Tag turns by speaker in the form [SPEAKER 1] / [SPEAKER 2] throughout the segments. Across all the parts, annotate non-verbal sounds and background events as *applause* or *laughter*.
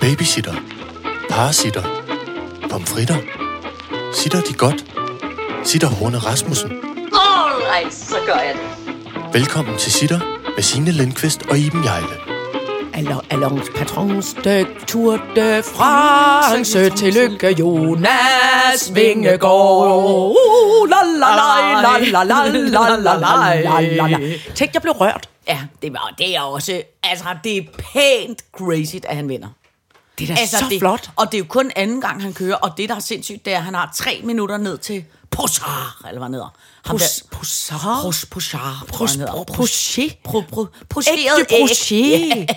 [SPEAKER 1] Babysitter. Parasitter. Pomfritter. Sitter de godt? Sitter Horne Rasmussen.
[SPEAKER 2] Alright, så gør jeg det.
[SPEAKER 1] Velkommen til Sitter med Signe Lindqvist og Iben Jejle.
[SPEAKER 3] Alors, allons, patrons, de Tour de France, tillykke Jonas Vingegaard. Uh, la, la, la, la, la, la, la, la, la, la, la. Tænk, jeg blev rørt.
[SPEAKER 4] Ja, det, var, det er også... Altså, det er pænt crazy, at han vinder.
[SPEAKER 3] Det er da
[SPEAKER 4] Altså,
[SPEAKER 3] så
[SPEAKER 4] det,
[SPEAKER 3] flot.
[SPEAKER 4] Og det er jo kun anden gang, han kører. Og det, der er sindssygt, det er, at han har tre minutter ned til Pochard, eller hvad han hedder. Ham
[SPEAKER 3] Pus-
[SPEAKER 4] der-
[SPEAKER 3] Poussard?
[SPEAKER 4] Pros- Pochard, tror
[SPEAKER 3] Pros-
[SPEAKER 4] jeg, han hedder.
[SPEAKER 3] Pro- Prochet?
[SPEAKER 4] Pro- pro- Pocheret
[SPEAKER 3] Ægte brochet.
[SPEAKER 4] æg.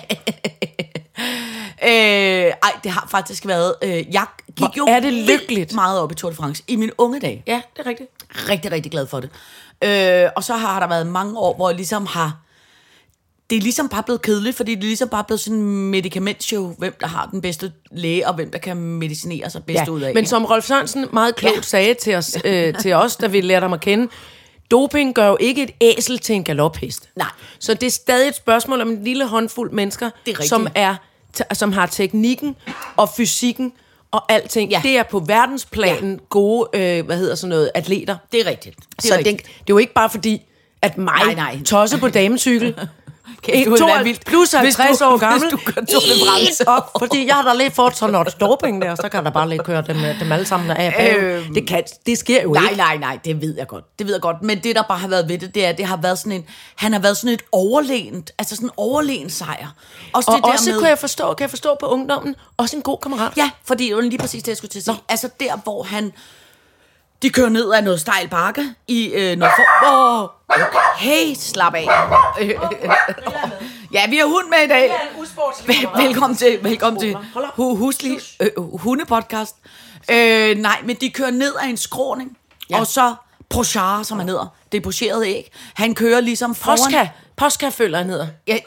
[SPEAKER 4] Øh, ej, det har faktisk været... Øh, jeg gik
[SPEAKER 3] Hvor
[SPEAKER 4] jo
[SPEAKER 3] er det
[SPEAKER 4] vildt
[SPEAKER 3] lykkeligt.
[SPEAKER 4] meget op i Tour de France i mine unge dage.
[SPEAKER 3] Ja, det er rigtigt.
[SPEAKER 4] rigtig, rigtig glad for det. Øh, og så har der været mange år, hvor jeg ligesom har... Det er ligesom bare blevet kedeligt, fordi det er ligesom bare blevet sådan en medicamentshow, hvem der har den bedste læge, og hvem der kan medicinere sig bedst
[SPEAKER 3] Ja.
[SPEAKER 4] ud af.
[SPEAKER 3] Men som Rolf Sørensen meget klogt
[SPEAKER 4] Ja.
[SPEAKER 3] ja. sagde til os, øh, til os, da vi lærte ham at kende, doping gør jo ikke et æsel til en galophest.
[SPEAKER 4] Nej.
[SPEAKER 3] Så det er stadig et spørgsmål om en lille håndfuld mennesker,
[SPEAKER 4] Det er rigtigt.
[SPEAKER 3] som, er, t- som har teknikken og fysikken og alting.
[SPEAKER 4] Ja.
[SPEAKER 3] Ja. Det er på verdensplanen ja. gode, øh, hvad hedder sådan noget, atleter.
[SPEAKER 4] det er rigtigt. Det er
[SPEAKER 3] så det,
[SPEAKER 4] rigtigt.
[SPEAKER 3] det er jo ikke bare fordi, at mig
[SPEAKER 4] Nej, nej.
[SPEAKER 3] tosse på damecykel,
[SPEAKER 4] *laughs* Kæft, det ville være vildt.
[SPEAKER 3] plus
[SPEAKER 4] Hvis
[SPEAKER 3] 50
[SPEAKER 4] du-
[SPEAKER 3] år
[SPEAKER 4] hvis
[SPEAKER 3] gammel.
[SPEAKER 4] du gør Tour de France.
[SPEAKER 3] Is op, fordi jeg har da lidt fået sådan noget doping der, så kan der bare lige køre dem, dem alle sammen af.
[SPEAKER 4] Øhm.
[SPEAKER 3] Øhm, det, kan, det sker jo
[SPEAKER 4] Nej,
[SPEAKER 3] ikke.
[SPEAKER 4] nej, nej, det ved jeg godt. Det ved jeg godt. Men det, der bare har været ved det, det er, at det har været sådan en... Han har været sådan et overlænt, altså sådan en overlænt sejr. Også
[SPEAKER 3] Og
[SPEAKER 4] det der
[SPEAKER 3] også
[SPEAKER 4] med-
[SPEAKER 3] kunne jeg forstå, kan jeg forstå på ungdommen, også en god kammerat.
[SPEAKER 4] Ja, fordi det var lige præcis det, jeg skulle til at sige. Altså der, hvor han... De kører ned ad noget stejl bakke i øh, noget for... Åh, oh, hey, slap af. *laughs* Øh, øh, øh. ja, vi har hund med i dag. Vel- Velkommen til, velkommen til hu- huslig øh, hundepodcast. Øh, nej, men de kører ned ad en skråning, ja. og så Prochard, som han hedder. Det er pocheret æg. Han kører ligesom foran...
[SPEAKER 3] Posca. Posca føler han hedder.
[SPEAKER 4] Ja,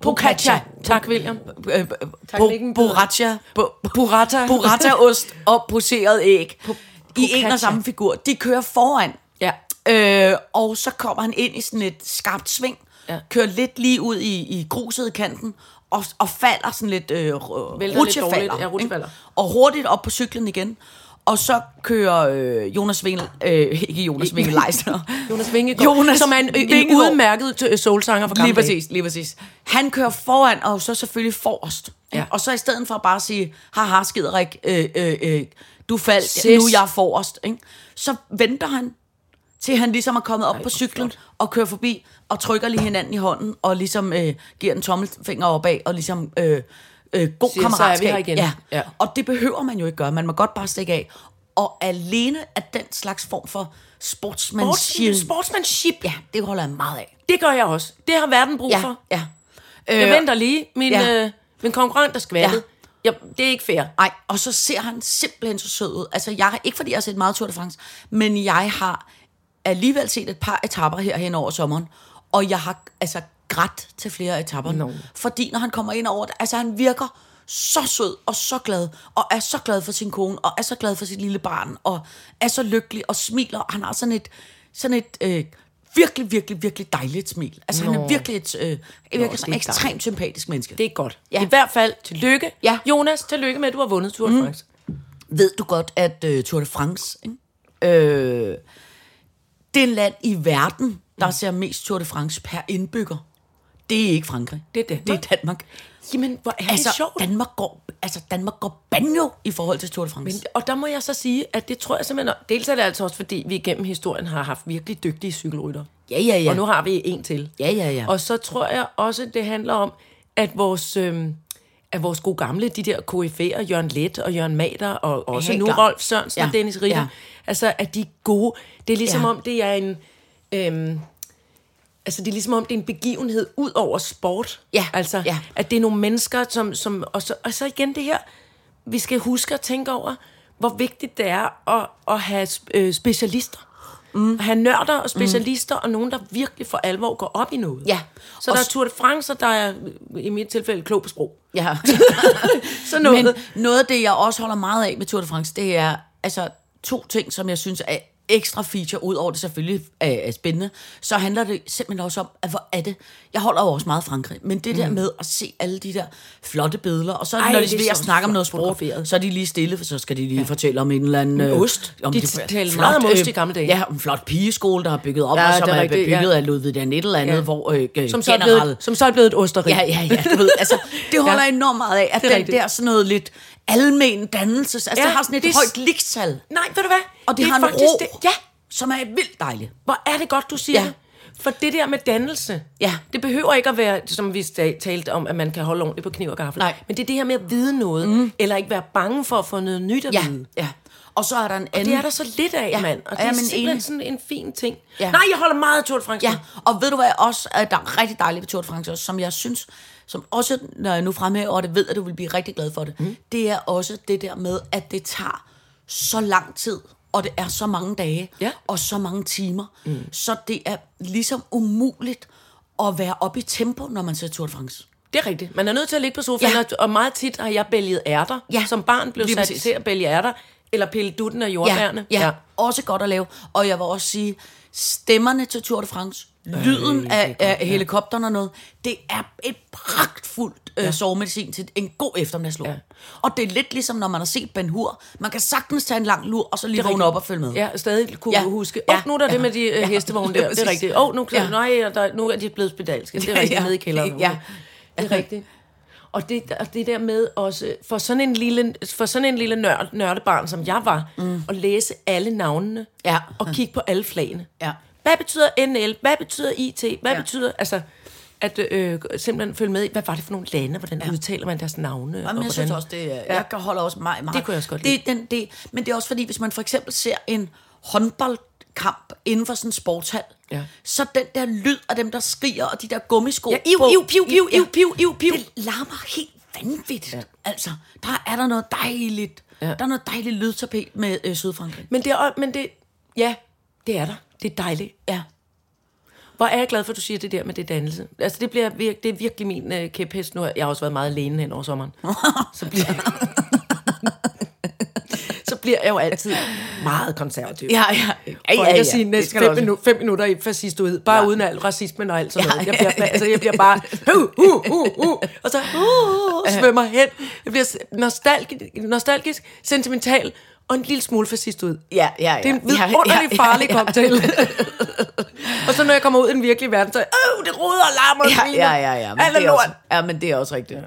[SPEAKER 4] Pocaccia.
[SPEAKER 3] Pocaccia. Tak, William.
[SPEAKER 4] Øh,
[SPEAKER 3] Teknikken
[SPEAKER 4] bo-
[SPEAKER 3] byder.
[SPEAKER 4] Borracha. Bo-
[SPEAKER 3] Burrata.
[SPEAKER 4] *laughs* burrataost og poseret æg i en
[SPEAKER 3] focaccia.
[SPEAKER 4] og samme figur. De kører foran,
[SPEAKER 3] Ja.
[SPEAKER 4] øh, og så kommer han ind i sådan et skarpt sving, ja.
[SPEAKER 3] Ja.
[SPEAKER 4] kører lidt lige ud i, i gruset i kanten, og, og falder sådan lidt, øh, r-
[SPEAKER 3] lidt
[SPEAKER 4] rutsjefalder,
[SPEAKER 3] dårligt. Ja, rutsjefalder.
[SPEAKER 4] ikke? og hurtigt op på cyklen igen. Og så kører øh, Jonas Vingel, øh, ikke Jonas Vingel Leisner,
[SPEAKER 3] *laughs* Jonas Vingegaard,
[SPEAKER 4] Jonas
[SPEAKER 3] som er en, en
[SPEAKER 4] Vingegaard.
[SPEAKER 3] udmærket øh, soulsanger fra gamle
[SPEAKER 4] Lige
[SPEAKER 3] dage.
[SPEAKER 4] præcis, lige præcis. Han kører foran, og så selvfølgelig forrest. Ja.
[SPEAKER 3] Ja.
[SPEAKER 4] Og så i stedet for bare at sige, haha, skiderik, øh, øh, øh, du faldt,
[SPEAKER 3] Sis.
[SPEAKER 4] nu er jeg forrest. Ikke? Så venter han, til han ligesom er kommet op Ej, på cyklen og kører forbi og trykker lige hinanden i hånden og ligesom øh, giver en tommelfinger opad og ligesom... Øh, øh, god
[SPEAKER 3] Siger, "Så er vi
[SPEAKER 4] kammeratskab.
[SPEAKER 3] her igen."
[SPEAKER 4] Ja. ja.
[SPEAKER 3] Ja.
[SPEAKER 4] Og det behøver man jo ikke gøre. Man må godt bare stikke af. Og alene at den slags form for sportsmanship,
[SPEAKER 3] Sports, sportsmanship.
[SPEAKER 4] ja, det holder jeg meget af.
[SPEAKER 3] Det gør jeg også. Det har verden brug
[SPEAKER 4] Ja,
[SPEAKER 3] for.
[SPEAKER 4] ja.
[SPEAKER 3] Jeg venter lige. Min,
[SPEAKER 4] ja.
[SPEAKER 3] ja. øh, min konkurrent er skvattet. Ja. Ja, det er ikke fair.
[SPEAKER 4] Ej, og så ser han simpelthen så sød ud. Altså, jeg, ikke fordi jeg har set meget Tour de France, men jeg har alligevel set et par etapper her hen over sommeren, og jeg har altså grædt til flere af etapperne. No.
[SPEAKER 3] Nå.
[SPEAKER 4] Fordi når han kommer ind over det, altså han virker så sød og så glad, og er så glad for sin kone, og er så glad for sit lille barn, og er så lykkelig og smiler. Han har sådan et, sådan et øh, virkelig, virkelig, virkelig dejligt smil. Altså han er virkelig et, øh, virker Nå, sådan
[SPEAKER 3] er
[SPEAKER 4] ekstremt sympatisk menneske.
[SPEAKER 3] Det er godt. Ja. Mm. I hvert fald, tillykke.
[SPEAKER 4] Ja.
[SPEAKER 3] Jonas, tillykke med, at du har vundet Tour de France.
[SPEAKER 4] ved du godt, at øh, Tour de France, ikke? Øh, det land i verden, der ser mest Tour de France per indbygger, det er ikke Frankrig.
[SPEAKER 3] Det er Danmark.
[SPEAKER 4] Det er Danmark.
[SPEAKER 3] Jamen, hvor er
[SPEAKER 4] Altså,
[SPEAKER 3] det sjovt.
[SPEAKER 4] Danmark går, altså, Danmark går banjo i forhold til Tour de France. Men,
[SPEAKER 3] Og der må jeg så sige, at det tror jeg simpelthen... Dels er det altså også, fordi vi igennem historien har haft virkelig dygtige cykelrytter.
[SPEAKER 4] ja, ja, ja.
[SPEAKER 3] Og nu har vi en til.
[SPEAKER 4] Ja, ja, ja.
[SPEAKER 3] Og så tror jeg også, det handler om, at vores... Øhm, at vores gode gamle, de der KF'er, Jørgen Let og Jørgen Mader, og også
[SPEAKER 4] Helt
[SPEAKER 3] nu
[SPEAKER 4] klart.
[SPEAKER 3] Rolf Sørensen
[SPEAKER 4] Ja,
[SPEAKER 3] og Dennis Ritter,
[SPEAKER 4] ja.
[SPEAKER 3] altså at de er gode. Det er ligesom
[SPEAKER 4] Ja.
[SPEAKER 3] ja. om, det er en... Øhm, altså det er ligesom om, det er en begivenhed ud over sport.
[SPEAKER 4] Ja,
[SPEAKER 3] Altså,
[SPEAKER 4] ja.
[SPEAKER 3] at det er nogle mennesker, som... som og, så, og så igen det her, vi skal huske at tænke over, hvor vigtigt det er at, at have sp- øh, specialister. Mm. At have nørder og specialister, mm. og nogen, der virkelig for alvor går op i noget.
[SPEAKER 4] Ja.
[SPEAKER 3] Så
[SPEAKER 4] Og
[SPEAKER 3] der er
[SPEAKER 4] s-
[SPEAKER 3] Tour de France, og der er øh, i mit tilfælde klog på sprog.
[SPEAKER 4] ja.
[SPEAKER 3] *laughs* Så noget.
[SPEAKER 4] Men noget af det, jeg også holder meget af med Tour de France, det er altså to ting, som jeg synes er ekstra feature, udover det selvfølgelig øh, er spændende, så handler det simpelthen også om, at hvor er det... Jeg holder jo også meget Frankrig, men det der med at se alle de der flotte billeder, og så Ej,
[SPEAKER 3] Mm. Ej,
[SPEAKER 4] når de
[SPEAKER 3] det er
[SPEAKER 4] er ved at
[SPEAKER 3] så
[SPEAKER 4] snakke om noget
[SPEAKER 3] flot
[SPEAKER 4] sprog,
[SPEAKER 3] fotograferet.
[SPEAKER 4] så er de lige stille, for så skal de lige ja. fortælle om en eller anden... Øh,
[SPEAKER 3] ost.
[SPEAKER 4] Om
[SPEAKER 3] De talte meget om ost i gamle dage.
[SPEAKER 4] øh, Ja, om en flot pigeskole, der har bygget op,
[SPEAKER 3] Ja,
[SPEAKER 4] ja, og som
[SPEAKER 3] det
[SPEAKER 4] er,
[SPEAKER 3] er
[SPEAKER 4] er
[SPEAKER 3] rigtigt,
[SPEAKER 4] bygget
[SPEAKER 3] ja.
[SPEAKER 4] ja. af Ludvig den et eller andet,
[SPEAKER 3] Ja.
[SPEAKER 4] ja. hvor øh,
[SPEAKER 3] Som så, er
[SPEAKER 4] general-
[SPEAKER 3] blevet, som så er blevet et osteri.
[SPEAKER 4] Ja, ja, ja, du ved, altså, det holder
[SPEAKER 3] Ja.
[SPEAKER 4] *laughs* ja. enormt meget af,
[SPEAKER 3] Det
[SPEAKER 4] at
[SPEAKER 3] er
[SPEAKER 4] det den
[SPEAKER 3] rigtigt.
[SPEAKER 4] der sådan noget lidt almen dannelse, altså ja,
[SPEAKER 3] Ja,
[SPEAKER 4] det har sådan et
[SPEAKER 3] det
[SPEAKER 4] det...
[SPEAKER 3] er s-
[SPEAKER 4] højt ligstal,
[SPEAKER 3] Nej, ved du hvad?
[SPEAKER 4] og det, det
[SPEAKER 3] er
[SPEAKER 4] har en
[SPEAKER 3] faktisk
[SPEAKER 4] ro,
[SPEAKER 3] det-
[SPEAKER 4] det.
[SPEAKER 3] Ja,
[SPEAKER 4] som er vildt dejlig.
[SPEAKER 3] Hvor er det godt, du siger ja.
[SPEAKER 4] Ja.
[SPEAKER 3] det. For det der med dannelse,
[SPEAKER 4] Ja.
[SPEAKER 3] det behøver ikke at være, som vi sta- talte om, at man kan holde ordentligt på kniv og gaffel.
[SPEAKER 4] Nej.
[SPEAKER 3] Men det er det her med at vide noget, mm. eller ikke være bange for at få noget nyt at
[SPEAKER 4] Ja,
[SPEAKER 3] vide.
[SPEAKER 4] ja. Mm. Og så er der en anden...
[SPEAKER 3] Det er der så lidt af, ja.
[SPEAKER 4] Ja.
[SPEAKER 3] mand. Og det
[SPEAKER 4] Ja,
[SPEAKER 3] er
[SPEAKER 4] men
[SPEAKER 3] simpelthen
[SPEAKER 4] enig.
[SPEAKER 3] sådan en fin ting. Ja.
[SPEAKER 4] Ja.
[SPEAKER 3] Nej, jeg holder meget af Tour de France.
[SPEAKER 4] Ja, og ved du hvad også er der er rigtig dejligt ved Tour de France også, som jeg synes, som også, når jeg nu fremhæver det, ved at du vil blive rigtig glad for det, mm. det er også det der med, at det tager så lang tid, og det er så mange dage,
[SPEAKER 3] Ja.
[SPEAKER 4] og så mange timer, mm. så det er ligesom umuligt at være oppe i tempo, når man ser Tour de France.
[SPEAKER 3] Det er rigtigt. Man er nødt til at ligge på sofaen,
[SPEAKER 4] Ja.
[SPEAKER 3] ja. og meget tit har jeg bælget ærter.
[SPEAKER 4] Ja.
[SPEAKER 3] Som barn blev
[SPEAKER 4] Lige
[SPEAKER 3] sat
[SPEAKER 4] præcis.
[SPEAKER 3] til at bælge ærter, eller pille dutten af jordbærne.
[SPEAKER 4] Ja, ja, ja, også godt at lave. Og jeg vil også sige, stemmerne til Tour de France, lyden af, af helikopteren og noget, det er et pragtfuldt øh, sovemedicin til en god eftermiddagslur. Ja. Og det er lidt ligesom, når man har set Ben Hur. Man kan sagtens tage en lang lur, og så lige vågne op og følge med.
[SPEAKER 3] Ja, stadig kunne ja.
[SPEAKER 4] Ja.
[SPEAKER 3] huske. Åh,
[SPEAKER 4] Ja.
[SPEAKER 3] oh, nu er der ja.
[SPEAKER 4] Ja.
[SPEAKER 3] det med de ja.
[SPEAKER 4] Ja.
[SPEAKER 3] hestevogne
[SPEAKER 4] Det
[SPEAKER 3] der.
[SPEAKER 4] er
[SPEAKER 3] Det er
[SPEAKER 4] præcis.
[SPEAKER 3] rigtigt. Åh, oh, nu, ja.
[SPEAKER 4] Ja.
[SPEAKER 3] nej, der, nu er de blevet spedalske. Det er
[SPEAKER 4] *laughs* Ja,
[SPEAKER 3] rigtigt, ja.
[SPEAKER 4] ja.
[SPEAKER 3] nede i kælderen.
[SPEAKER 4] Ja.
[SPEAKER 3] Okay. Det er rigtigt. Og det, og det der med også, for sådan en lille, for sådan en lille nørd, nørdebarn, som jeg var, mm. at læse alle navnene,
[SPEAKER 4] Ja.
[SPEAKER 3] og kigge på alle flagene.
[SPEAKER 4] Ja.
[SPEAKER 3] Hvad betyder NL? Hvad betyder IT? Hvad ja.
[SPEAKER 4] Ja.
[SPEAKER 3] betyder, altså, at øh, simpelthen følge med i, hvad var det for nogle lande, hvordan ja. udtaler man deres navne? og
[SPEAKER 4] Jamen, jeg synes
[SPEAKER 3] hvordan-
[SPEAKER 4] også, det, er- jeg kan holde også meget, meget.
[SPEAKER 3] Det kunne jeg også godt
[SPEAKER 4] det, den, det, Men det er også fordi, hvis man for eksempel ser en håndboldkamp inden for sådan en sportshal,
[SPEAKER 3] Ja.
[SPEAKER 4] så den der lyd af dem, der skriger, og de der gummisko.
[SPEAKER 3] Ja, iv,
[SPEAKER 4] på-
[SPEAKER 3] iv, piv, piv,
[SPEAKER 4] Ja.
[SPEAKER 3] iv, piv, iv, piv.
[SPEAKER 4] Det larmer helt vanvittigt. Ja. Altså, der er der noget dejligt.
[SPEAKER 3] Ja.
[SPEAKER 4] Ja. Der er noget dejligt lydtapet med øh, Sydfrankrig.
[SPEAKER 3] Men det er, men det, ja, det er der. Det er dejligt.
[SPEAKER 4] Ja.
[SPEAKER 3] Hvor er jeg glad for, at du siger det der med det dannelse. Altså, det, bliver virk, det er virkelig min øh, kæphest nu. har Jeg har også været meget alene hen over sommeren. Så bliver, så bliver jeg jo altid meget konservativ.
[SPEAKER 4] Ja, ja.
[SPEAKER 3] For
[SPEAKER 4] Ja,
[SPEAKER 3] ikke
[SPEAKER 4] ja,
[SPEAKER 3] at sige
[SPEAKER 4] ja. Det
[SPEAKER 3] næste
[SPEAKER 4] skal du
[SPEAKER 3] fem,
[SPEAKER 4] også.
[SPEAKER 3] minu- fem minutter i fascist ud. Bare ja. uden al racismen og alt sådan
[SPEAKER 4] Ja,
[SPEAKER 3] noget.
[SPEAKER 4] ja,
[SPEAKER 3] Jeg bliver,
[SPEAKER 4] ja.
[SPEAKER 3] altså, jeg bliver bare... Uh, uh, uh, uh, og så uh, uh, svømmer hen. Jeg bliver s- nostalgisk, nostalgisk sentimental og en lille smule fascist ud.
[SPEAKER 4] Ja, ja, ja.
[SPEAKER 3] Det er en
[SPEAKER 4] Ja, ja,
[SPEAKER 3] vidunderlig
[SPEAKER 4] ja,
[SPEAKER 3] farlig
[SPEAKER 4] ja, ja.
[SPEAKER 3] cocktail. *laughs* og så når jeg kommer ud i den virkelige verden, så øh, det ruder og larmer og
[SPEAKER 4] Ja,
[SPEAKER 3] sviner.
[SPEAKER 4] ja, ja, ja. Men
[SPEAKER 3] Alt er
[SPEAKER 4] det er også,
[SPEAKER 3] lort.
[SPEAKER 4] ja, men det er også rigtigt.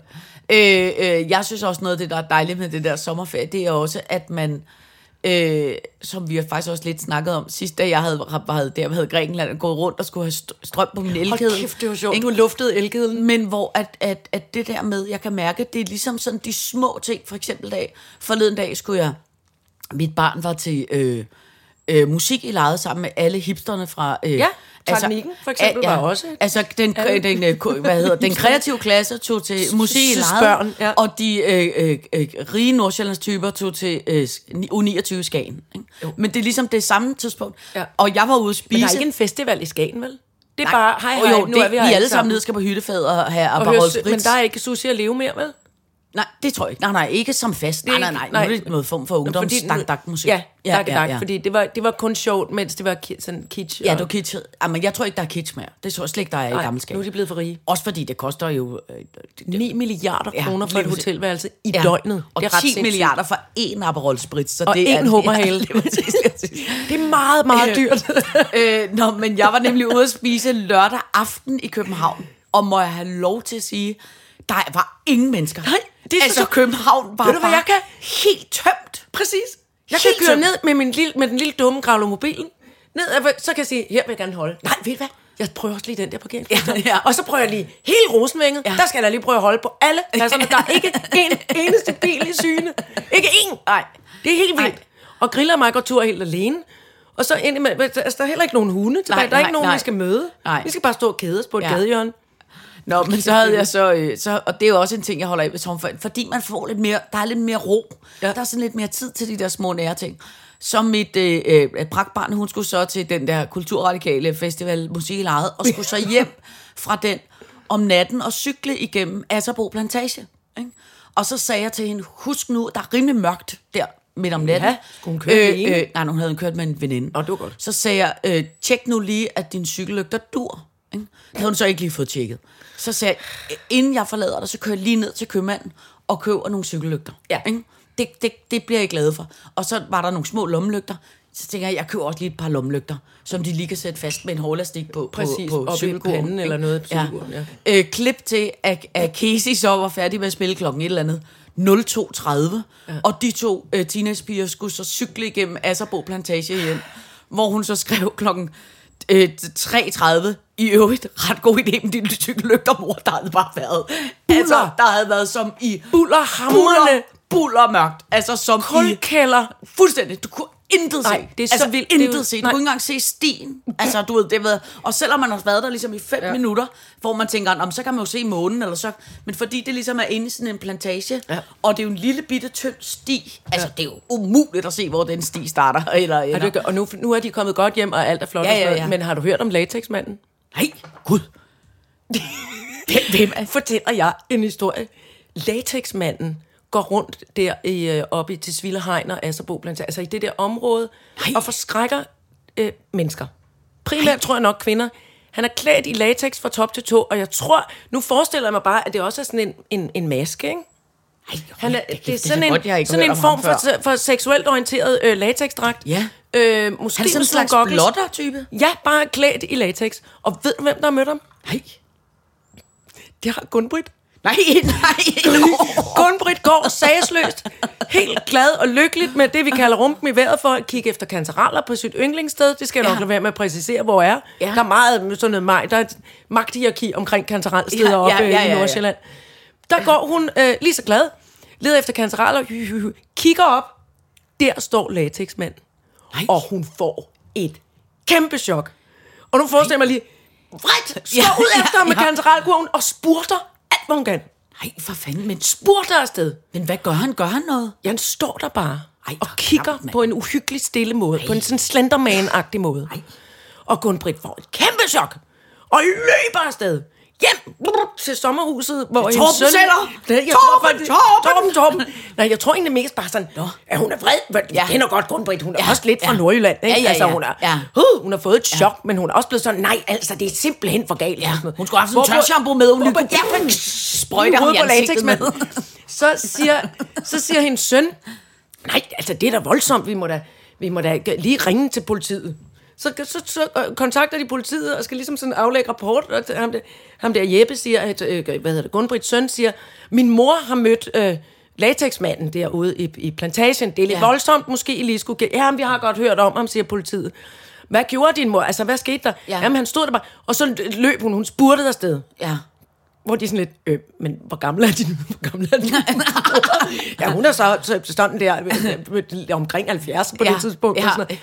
[SPEAKER 4] Øh, øh, jeg synes også noget af det, der er dejligt med det der sommerferie, det er også, at man, øh, som vi har faktisk også lidt snakket om sidst, da jeg havde, havde, der, havde Grækenland gået rundt og skulle have st- strøm på min elkedel.
[SPEAKER 3] kæft, det var sjovt.
[SPEAKER 4] Ikke?
[SPEAKER 3] Du luftede elkedlen.
[SPEAKER 4] Men hvor at, at, at det der med, jeg kan mærke, det er ligesom sådan de små ting, for eksempel dag, forleden dag skulle jeg, mit barn var til... Øh, øh, musik i lejet sammen med alle hipsterne fra... Øh,
[SPEAKER 3] Ja, Titanicken for eksempel var også et-
[SPEAKER 4] Altså, den,
[SPEAKER 3] Alle-
[SPEAKER 4] den, øh, ko- hvad hedder, den kreative klasse tog til musik i lejet,
[SPEAKER 3] børn, ja.
[SPEAKER 4] og de øh, øh, øh, rige Nordsjællandstyper tog til øh, U29 Skagen. Ikke? Men det er ligesom det samme tidspunkt.
[SPEAKER 3] Ja.
[SPEAKER 4] Og jeg var ude at spise...
[SPEAKER 3] Men der er ikke en festival i Skagen, vel? Det er bare, hej, hej,
[SPEAKER 4] jo,
[SPEAKER 3] nu
[SPEAKER 4] det,
[SPEAKER 3] er vi,
[SPEAKER 4] vi
[SPEAKER 3] her
[SPEAKER 4] alle sammen nede skal på hyttefadet og have
[SPEAKER 3] og høre,
[SPEAKER 4] Aperol
[SPEAKER 3] men
[SPEAKER 4] Spritz.
[SPEAKER 3] der er ikke sushi at leve mere, vel?
[SPEAKER 4] Nej, det tror jeg ikke. Nej, nej, ikke som fast. Nej, nej,
[SPEAKER 3] ikke-
[SPEAKER 4] nej. Nu er det noget form for ungdoms
[SPEAKER 3] Fordi-
[SPEAKER 4] dak dak musik
[SPEAKER 3] Ja, dak, dak, fordi det var, det var kun sjovt, mens det var ki- sådan kitsch.
[SPEAKER 4] Ja,
[SPEAKER 3] og-
[SPEAKER 4] du er kitsch. Jamen, jeg tror ikke, der er kitsch mere. Det tror jeg slet ikke, der er
[SPEAKER 3] Nej,
[SPEAKER 4] i gammelskab.
[SPEAKER 3] nu er de blevet for rige.
[SPEAKER 4] Også fordi det koster jo... Øh, det-
[SPEAKER 3] 9 milliarder
[SPEAKER 4] Ja,
[SPEAKER 3] kroner for
[SPEAKER 4] lige
[SPEAKER 3] et
[SPEAKER 4] præcis.
[SPEAKER 3] hotelværelse i døgnet.
[SPEAKER 4] Og
[SPEAKER 3] det er
[SPEAKER 4] 10
[SPEAKER 3] ret sindssygt.
[SPEAKER 4] milliarder for én Aperol Spritz. Så
[SPEAKER 3] Og
[SPEAKER 4] det *laughs* er,
[SPEAKER 3] én hummerhale.
[SPEAKER 4] Ja, lige præcis, lige præcis.
[SPEAKER 3] Det er meget,
[SPEAKER 4] *laughs*
[SPEAKER 3] meget dyrt.
[SPEAKER 4] øh, nå, men jeg var nemlig ude at spise lørdag aften i København. Og må jeg have lov til at sige, der var ingen mennesker.
[SPEAKER 3] Nej, det er så
[SPEAKER 4] altså,
[SPEAKER 3] godt.
[SPEAKER 4] København var
[SPEAKER 3] Ved du, hvad
[SPEAKER 4] bare
[SPEAKER 3] jeg kan?
[SPEAKER 4] helt tømt.
[SPEAKER 3] Præcis. Jeg
[SPEAKER 4] Helt
[SPEAKER 3] kan køre
[SPEAKER 4] tømt.
[SPEAKER 3] ned med, min lille, med den lille dumme gravlomobilen. Ned, ad- så kan jeg sige, her vil jeg gerne holde. Nej, ved du hvad? Jeg prøver også lige den der parkering.
[SPEAKER 4] Ja, ja.
[SPEAKER 3] Og så prøver jeg lige hele Rosenvænget. Ja.
[SPEAKER 4] Ja.
[SPEAKER 3] Der skal jeg da lige prøve at holde på alle pladserne. Der er ikke en eneste bil i syne. Ikke en.
[SPEAKER 4] Nej.
[SPEAKER 3] Det er helt vildt.
[SPEAKER 4] Nej.
[SPEAKER 3] Og griller mig går tur helt alene. Og så ind med, altså, der er heller ikke nogen hunde tilbage.
[SPEAKER 4] Nej,
[SPEAKER 3] der er ikke
[SPEAKER 4] nej,
[SPEAKER 3] nogen,
[SPEAKER 4] nej.
[SPEAKER 3] vi skal møde.
[SPEAKER 4] Nej.
[SPEAKER 3] Vi skal bare stå og kede os på et ja.
[SPEAKER 4] Ja.
[SPEAKER 3] gadehjørne.
[SPEAKER 4] Nå, men så havde jeg så, øh, så, og det er jo også en ting, jeg holder af ved tomfald, fordi man får lidt mere, der er lidt mere ro,
[SPEAKER 3] Ja.
[SPEAKER 4] ja. der er sådan lidt mere tid til de der små nære ting. Så mit øh, øh, pragtbarn, hun skulle så til den der kulturradikale festival Musik i Lejet, og skulle så hjem fra den om natten og cykle igennem Asserbo Plantage. Ikke? Og så sagde jeg til hende, husk nu, der er rimelig mørkt der midt om natten.
[SPEAKER 3] Ja, skulle hun køre alene?
[SPEAKER 4] øh, nej, hun havde kørt med en veninde.
[SPEAKER 3] Nå, det var godt.
[SPEAKER 4] Så sagde jeg, øh, tjek nu lige, at din cykellygter dur. Ikke? Det havde hun så ikke lige fået tjekket. Så sagde jeg, øh, inden jeg forlader dig, så kører jeg lige ned til købmanden og køber nogle cykellygter.
[SPEAKER 3] Ja.
[SPEAKER 4] Ikke? Det, det, det bliver jeg glad for. Og så var der nogle små lommelygter. Så tænker jeg, jeg køber også lige et par lommelygter, som de lige kan sætte fast med en hårlastik på,
[SPEAKER 3] Præcis,
[SPEAKER 4] på,
[SPEAKER 3] oppe
[SPEAKER 4] på
[SPEAKER 3] i
[SPEAKER 4] cykelkurven,
[SPEAKER 3] panden
[SPEAKER 4] ikke?
[SPEAKER 3] eller noget på cykelkurven, ja.
[SPEAKER 4] Øh, klip til, at, at Casey så var færdig med at spille klokken et eller andet. 02.30, ja. og de to øh, teenagepiger skulle så cykle igennem Asserbo Plantage hjem, hvor hun så skrev klokken øh, 3.30, i øvrigt ret god idé med din cykellygter, mor, der havde bare været, buller. altså, der havde været som i
[SPEAKER 3] Bullerhamrende.
[SPEAKER 4] buller, bullermørkt, altså som
[SPEAKER 3] Kulkælder.
[SPEAKER 4] i, fuldstændig, du kunne intet
[SPEAKER 3] Nej,
[SPEAKER 4] se,
[SPEAKER 3] det er så
[SPEAKER 4] altså,
[SPEAKER 3] vildt. Det er
[SPEAKER 4] intet
[SPEAKER 3] jo-
[SPEAKER 4] se, du
[SPEAKER 3] nej.
[SPEAKER 4] kunne ikke engang se stien, altså du ved, det ved, og selvom man har været der ligesom i fem ja. minutter, hvor man tænker, om så kan man jo se månen, eller så, men fordi det ligesom er inde i sådan en plantage,
[SPEAKER 3] Ja.
[SPEAKER 4] ja. og det er jo en lille bitte tynd sti, altså det er jo umuligt at se, hvor den sti starter, *laughs* eller,
[SPEAKER 3] Er
[SPEAKER 4] eller.
[SPEAKER 3] du, ikke- og nu, nu er de kommet godt hjem, og alt er flot ja, og ja, ja. men har du hørt om latexmanden?
[SPEAKER 4] nej, gud,
[SPEAKER 3] Hvem, hvem er? Fortæller jeg en historie. Latexmanden går rundt der i, øh, oppe i Tisvilde Hegn og Asserbo, blandt andet, altså i det der område, Ej. og forskrækker øh, mennesker. Primært Ej. tror jeg nok kvinder. Han er klædt i latex fra top til tå, og jeg tror, nu forestiller jeg mig bare, at det også er sådan en, en, en maske, ikke?
[SPEAKER 4] Ej,
[SPEAKER 3] Han er, det, det er sådan en,
[SPEAKER 4] godt, jeg har ikke
[SPEAKER 3] sådan
[SPEAKER 4] hørt
[SPEAKER 3] en
[SPEAKER 4] om
[SPEAKER 3] form
[SPEAKER 4] ham før.
[SPEAKER 3] for, for seksuelt orienteret øh, latexdragt.
[SPEAKER 4] Ja.
[SPEAKER 3] Øh, måske
[SPEAKER 4] Han er sådan en
[SPEAKER 3] med
[SPEAKER 4] slags
[SPEAKER 3] nogle goggles.
[SPEAKER 4] blotter-type.
[SPEAKER 3] Ja, bare klædt i latex. Og ved du, hvem der har mødt ham?
[SPEAKER 4] Nej,
[SPEAKER 3] Det har Gunbrit.
[SPEAKER 4] nej, *laughs* nej.
[SPEAKER 3] Gunbrit går sagsløst, helt glad og lykkeligt med det, vi kalder rumpen i vejret for at kigge efter kantereller på sit yndlingssted. Det skal jeg nok
[SPEAKER 4] Ja.
[SPEAKER 3] lade være med at præcisere, hvor er.
[SPEAKER 4] Ja.
[SPEAKER 3] Der er meget sådan noget mig. Der er et magthierarki omkring kantarelsteder ja,
[SPEAKER 4] Ja, ja,
[SPEAKER 3] oppe ja,
[SPEAKER 4] ja, ja,
[SPEAKER 3] i
[SPEAKER 4] ja.
[SPEAKER 3] Nordsjælland. Der går hun øh, lige så glad, leder efter kantereller, hy, hy, hy, kigger op. Der står latexmanden. Og hun får et kæmpe chok. Og nu forestiller jeg mig lige, vredt, slår
[SPEAKER 4] Ja,
[SPEAKER 3] ud
[SPEAKER 4] *laughs* ja,
[SPEAKER 3] efter ham med
[SPEAKER 4] ja.
[SPEAKER 3] kantarelkurven og spurter alt, hvad hun kan.
[SPEAKER 4] Nej, for fanden, men,
[SPEAKER 3] Spurter afsted.
[SPEAKER 4] men hvad gør han? Gør han noget?
[SPEAKER 3] Ja, han står der bare
[SPEAKER 4] Ej,
[SPEAKER 3] og
[SPEAKER 4] hvor
[SPEAKER 3] kigger
[SPEAKER 4] klamt, mand.
[SPEAKER 3] på en uhyggelig stille måde. Ej. På en sådan slenderman-agtig måde. Ej. Og Gunbrit får et kæmpe chok. Og løber afsted. Hjem brrr, til sommerhuset, hvor
[SPEAKER 4] Torben Zeller!
[SPEAKER 3] Nej, jeg tror
[SPEAKER 4] Torben,
[SPEAKER 3] faktisk-
[SPEAKER 4] Torben!
[SPEAKER 3] Torben, Torben! Nej, jeg tror egentlig mest bare sådan, Nå. at hun er vred. Hvor- Jeg
[SPEAKER 4] Ja.
[SPEAKER 3] kender godt Gunbrit, hun er
[SPEAKER 4] Ja,
[SPEAKER 3] også lidt fra
[SPEAKER 4] ja.
[SPEAKER 3] Nordjylland. Ikke?
[SPEAKER 4] Ja, ja,
[SPEAKER 3] Altså,
[SPEAKER 4] ja.
[SPEAKER 3] hun, er,
[SPEAKER 4] Ja.
[SPEAKER 3] huh, hun har fået et chok, ja. men hun er også blevet sådan, nej, altså, det er simpelthen for galt.
[SPEAKER 4] Ja,
[SPEAKER 3] og sådan noget.
[SPEAKER 4] hun skulle have haft sådan en
[SPEAKER 3] Hvorpå-
[SPEAKER 4] tørshampoo med, hun
[SPEAKER 3] hvorpå-
[SPEAKER 4] lige kunne-
[SPEAKER 3] Ja, men-
[SPEAKER 4] Sprøjte ham i
[SPEAKER 3] Hovedet på
[SPEAKER 4] ansigtet med.
[SPEAKER 3] latexmanden. *laughs* Så siger, så siger hendes søn, nej, altså det er da voldsomt, vi må da, vi må da lige ringe til politiet. Så, så, så øh, kontakter de politiet og skal ligesom sådan aflægge rapport, og til ham der, ham der Jeppe siger, at, øh, hvad hedder det, Gunbrits søn siger, min mor har mødt øh, latexmanden derude i, i plantagen. Det er lidt ja.
[SPEAKER 4] Ja.
[SPEAKER 3] voldsomt, måske I lige skulle... ge- Ja, men vi har godt hørt om ham, siger politiet. Hvad gjorde din mor? Altså, hvad skete der? Ja.
[SPEAKER 4] Ja.
[SPEAKER 3] Jamen, han stod der bare, og så løb hun, hun spurtede afsted
[SPEAKER 4] Ja.
[SPEAKER 3] hvor de er sådan lidt, øh, men hvor gammel er din, hvor gammel
[SPEAKER 4] *laughs*
[SPEAKER 3] er din mor? ja, hun er så, så sådan der øh, øh, omkring 70 på ja,
[SPEAKER 4] Ja,
[SPEAKER 3] det tidspunkt. Ja.
[SPEAKER 4] ja.
[SPEAKER 3] Sådan noget.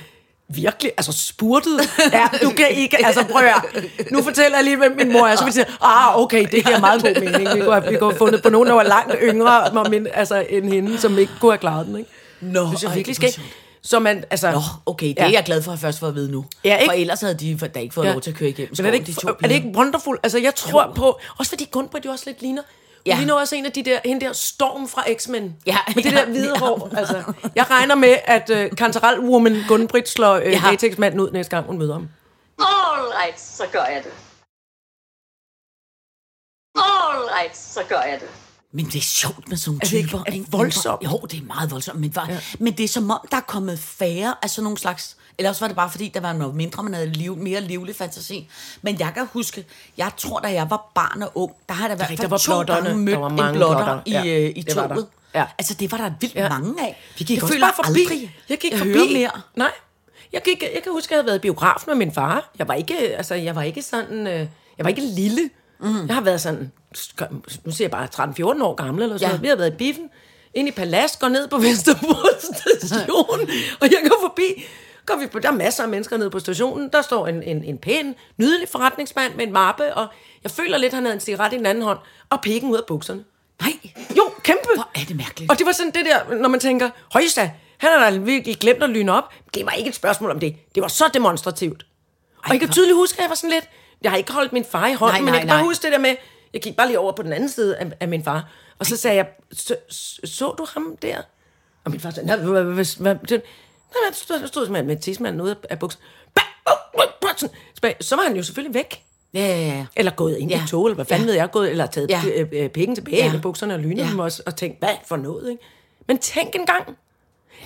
[SPEAKER 3] Virkelig, altså spurtet. Ja, du kan ikke, altså prøv at høre. Nu fortæller jeg lige, hvem min mor er. Så vil de sige, ah, okay, det giver meget god mening. Vi kunne have, vi kunne have fundet på nogen, der var langt yngre men- men, altså, end hende, som ikke kunne have klaret den. Ikke?
[SPEAKER 4] Nå,
[SPEAKER 3] det er
[SPEAKER 4] ej,
[SPEAKER 3] virkelig
[SPEAKER 4] hvor
[SPEAKER 3] skægt. Så man, altså,
[SPEAKER 4] Nå, okay, det
[SPEAKER 3] Ja.
[SPEAKER 4] ja. er jeg glad for at først få at vide nu.
[SPEAKER 3] Ja, ikke?
[SPEAKER 4] For ellers havde de for, da ikke fået ja. lov til at køre igennem
[SPEAKER 3] Men er det
[SPEAKER 4] skoven,
[SPEAKER 3] ikke,
[SPEAKER 4] de to
[SPEAKER 3] er det
[SPEAKER 4] piger.
[SPEAKER 3] ikke wonderful? Altså, jeg tror jo. på... Også fordi Gunbrit jo også lidt ligner... Hun ja.
[SPEAKER 4] Ja.
[SPEAKER 3] ligner også en af de der, hende der Storm fra X-Men.
[SPEAKER 4] Ja,
[SPEAKER 3] Med det
[SPEAKER 4] *laughs* ja,
[SPEAKER 3] der hvide
[SPEAKER 4] ja.
[SPEAKER 3] hår. Altså, jeg regner med, at uh, Kantarel Woman Gunbrit slår uh, ja.
[SPEAKER 4] Ja.
[SPEAKER 3] latex-manden ud næste gang, hun møder ham.
[SPEAKER 2] All right, så gør jeg det. All right, så gør jeg det.
[SPEAKER 4] Men det er sjovt med sådan nogle
[SPEAKER 3] Er det ikke-
[SPEAKER 4] typer.
[SPEAKER 3] er det
[SPEAKER 4] ikke?
[SPEAKER 3] voldsomt?
[SPEAKER 4] Jo, det er meget voldsomt. Men, var, ja. men det er som om, der er kommet færre af sådan nogle slags... Eller også var det bare fordi, der var noget mindre, man havde liv, mere livlig fantasi. Men jeg kan huske, jeg tror, da jeg var barn og ung, der har der i hvert
[SPEAKER 3] rigtigt, der
[SPEAKER 4] fald
[SPEAKER 3] var
[SPEAKER 4] to
[SPEAKER 3] blotterne.
[SPEAKER 4] gange
[SPEAKER 3] Der
[SPEAKER 4] mødt
[SPEAKER 3] var
[SPEAKER 4] en
[SPEAKER 3] mange
[SPEAKER 4] blotter
[SPEAKER 3] blotter.
[SPEAKER 4] i,
[SPEAKER 3] Ja,
[SPEAKER 4] ja, i
[SPEAKER 3] det var der.
[SPEAKER 4] toget.
[SPEAKER 3] Ja.
[SPEAKER 4] Altså, det var der vildt
[SPEAKER 3] Ja.
[SPEAKER 4] ja. mange af.
[SPEAKER 3] Vi gik
[SPEAKER 4] jeg
[SPEAKER 3] også
[SPEAKER 4] føler
[SPEAKER 3] bare forbi.
[SPEAKER 4] aldrig,
[SPEAKER 3] jeg gik
[SPEAKER 4] jeg
[SPEAKER 3] forbi.
[SPEAKER 4] hører mere.
[SPEAKER 3] Nej. Jeg, gik, jeg kan huske, at jeg havde været i biografen med min far. Jeg var ikke, altså, jeg var ikke sådan... Øh, jeg var ikke lille.
[SPEAKER 4] Mhm.
[SPEAKER 3] Mm. Jeg har været sådan... Nu siger jeg bare 13-14 år gammel eller sådan
[SPEAKER 4] Ja.
[SPEAKER 3] noget. Vi har været i biffen. Ind i Palast, går ned på Vesterbro station.
[SPEAKER 4] *laughs*
[SPEAKER 3] og jeg går forbi. Går vi på, der er masser af mennesker nede på stationen. Der står en, en, en pæn, nydelig forretningsmand med en mappe. Og jeg føler lidt, han havde en cigaret i den anden hånd. Og pikken ud af bukserne.
[SPEAKER 4] Nej,
[SPEAKER 3] Jo, kæmpe.
[SPEAKER 4] hvor er det mærkeligt.
[SPEAKER 3] Og det var sådan det der, når man tænker, højsta, han har da virkelig glemt at lyne op. Det var ikke et spørgsmål om det. Det var så demonstrativt. Og jeg kan tydeligt huske, at jeg var sådan lidt, jeg har ikke holdt min far i hånden,
[SPEAKER 4] Nej,
[SPEAKER 3] men
[SPEAKER 4] nej,
[SPEAKER 3] jeg kan bare
[SPEAKER 4] nej.
[SPEAKER 3] huske det der med, jeg gik bare lige over på den anden side af, af min far, og så sagde jeg, så, så, så du ham der? Og min far sagde, "Nå, hvad- hvad- hvad- hvad betyder det?" Nå, der stod der stod simpelthen med tissemanden ude af- af buksen. Bang! Åh, åh, åh, sådan. Tilbage. Så var han jo selvfølgelig væk.
[SPEAKER 4] Ja, ja, ja.
[SPEAKER 3] Eller gået ind ja.
[SPEAKER 4] Ja.
[SPEAKER 3] i tog, eller hvad fanden
[SPEAKER 4] Ja.
[SPEAKER 3] ved jeg, gået, eller taget
[SPEAKER 4] Ja.
[SPEAKER 3] ja. øh, øh, pikken tilbage
[SPEAKER 4] Ja.
[SPEAKER 3] ja. i bukserne og lynet
[SPEAKER 4] Ja.
[SPEAKER 3] ja. dem også, og tænkt, hvad for noget, ikke? Men tænk engang,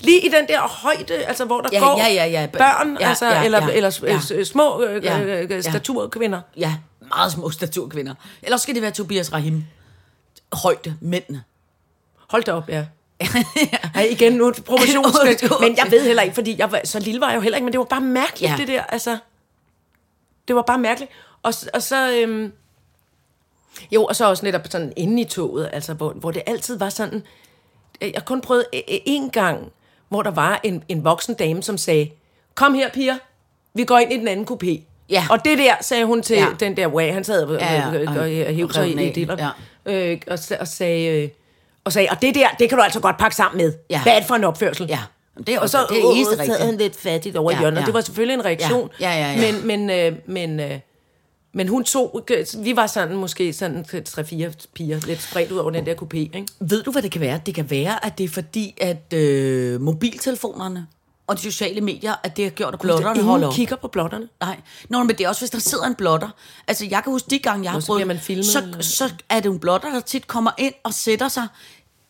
[SPEAKER 3] lige i den der højde, altså hvor der
[SPEAKER 4] Ja,
[SPEAKER 3] går
[SPEAKER 4] ja, ja, ja.
[SPEAKER 3] børn,
[SPEAKER 4] Ja,
[SPEAKER 3] altså,
[SPEAKER 4] ja,
[SPEAKER 3] eller,
[SPEAKER 4] ja.
[SPEAKER 3] eller øh,
[SPEAKER 4] Ja.
[SPEAKER 3] s- øh, små øh,
[SPEAKER 4] Ja.
[SPEAKER 3] øh,
[SPEAKER 4] Ja.
[SPEAKER 3] øh, staturkvinder.
[SPEAKER 4] Ja, meget små *laughs* staturkvinder. Ellers skal det være Tobias Rahim. Højde, mændene.
[SPEAKER 3] Hold da op, ja. ja. igen, nu er det proportionsmæssigt.
[SPEAKER 4] Undskyld.
[SPEAKER 3] men jeg ved heller ikke, fordi jeg var, så lille var jeg jo heller ikke, men det var bare mærkeligt,
[SPEAKER 4] Ja.
[SPEAKER 3] ja. det der, altså. Det var bare mærkeligt. Og, s- og så, øhm, jo, og så også netop sådan inde i toget, altså, hvor, hvor det altid var sådan, øh, jeg kun prøvede en gang, hvor der var en, en voksen dame, som sagde, kom her, piger, vi går ind i den anden kupé.
[SPEAKER 4] Ja.
[SPEAKER 3] Og det der, sagde hun til
[SPEAKER 4] Ja.
[SPEAKER 3] ja. den der way, han sad og, ja,
[SPEAKER 4] Ja, ja,
[SPEAKER 3] ja, og, og, og hævde
[SPEAKER 4] rev
[SPEAKER 3] sig
[SPEAKER 4] den
[SPEAKER 3] i
[SPEAKER 4] af,
[SPEAKER 3] dilleren.
[SPEAKER 4] ja.
[SPEAKER 3] Ja øh, og, sa- og, sagde, øh, og sagde, og det der, det kan du altså godt pakke sammen med.
[SPEAKER 4] Ja.
[SPEAKER 3] Ja. Hvad er det for en opførsel?
[SPEAKER 4] Ja. Jamen, det er
[SPEAKER 3] Og så
[SPEAKER 4] det er eneste
[SPEAKER 3] øh, sad han
[SPEAKER 4] rigtige.
[SPEAKER 3] lidt fattigt over
[SPEAKER 4] Ja,
[SPEAKER 3] ja, hjørnet.
[SPEAKER 4] ja.
[SPEAKER 3] Ja. Det var selvfølgelig en reaktion.
[SPEAKER 4] Ja, ja, ja, ja.
[SPEAKER 3] Men, men, øh, men, øh, men hun tog, vi var sådan måske sådan 3-4 piger, lidt spredt ud over den der kupé, ikke?
[SPEAKER 4] Ved du, hvad det kan være? Det kan være, at det er fordi, at øh, mobiltelefonerne og de sociale medier, at det har gjort, at blotterne
[SPEAKER 3] Ingen
[SPEAKER 4] holder op.
[SPEAKER 3] kigger på blotterne.
[SPEAKER 4] Nej, Nå, men det er også, hvis der sidder en blotter. Altså, jeg kan huske, de gange, jeg har
[SPEAKER 3] så
[SPEAKER 4] prøvet,
[SPEAKER 3] bliver man filmet,
[SPEAKER 4] så,
[SPEAKER 3] eller-
[SPEAKER 4] så er det en blotter, der tit kommer ind og sætter sig.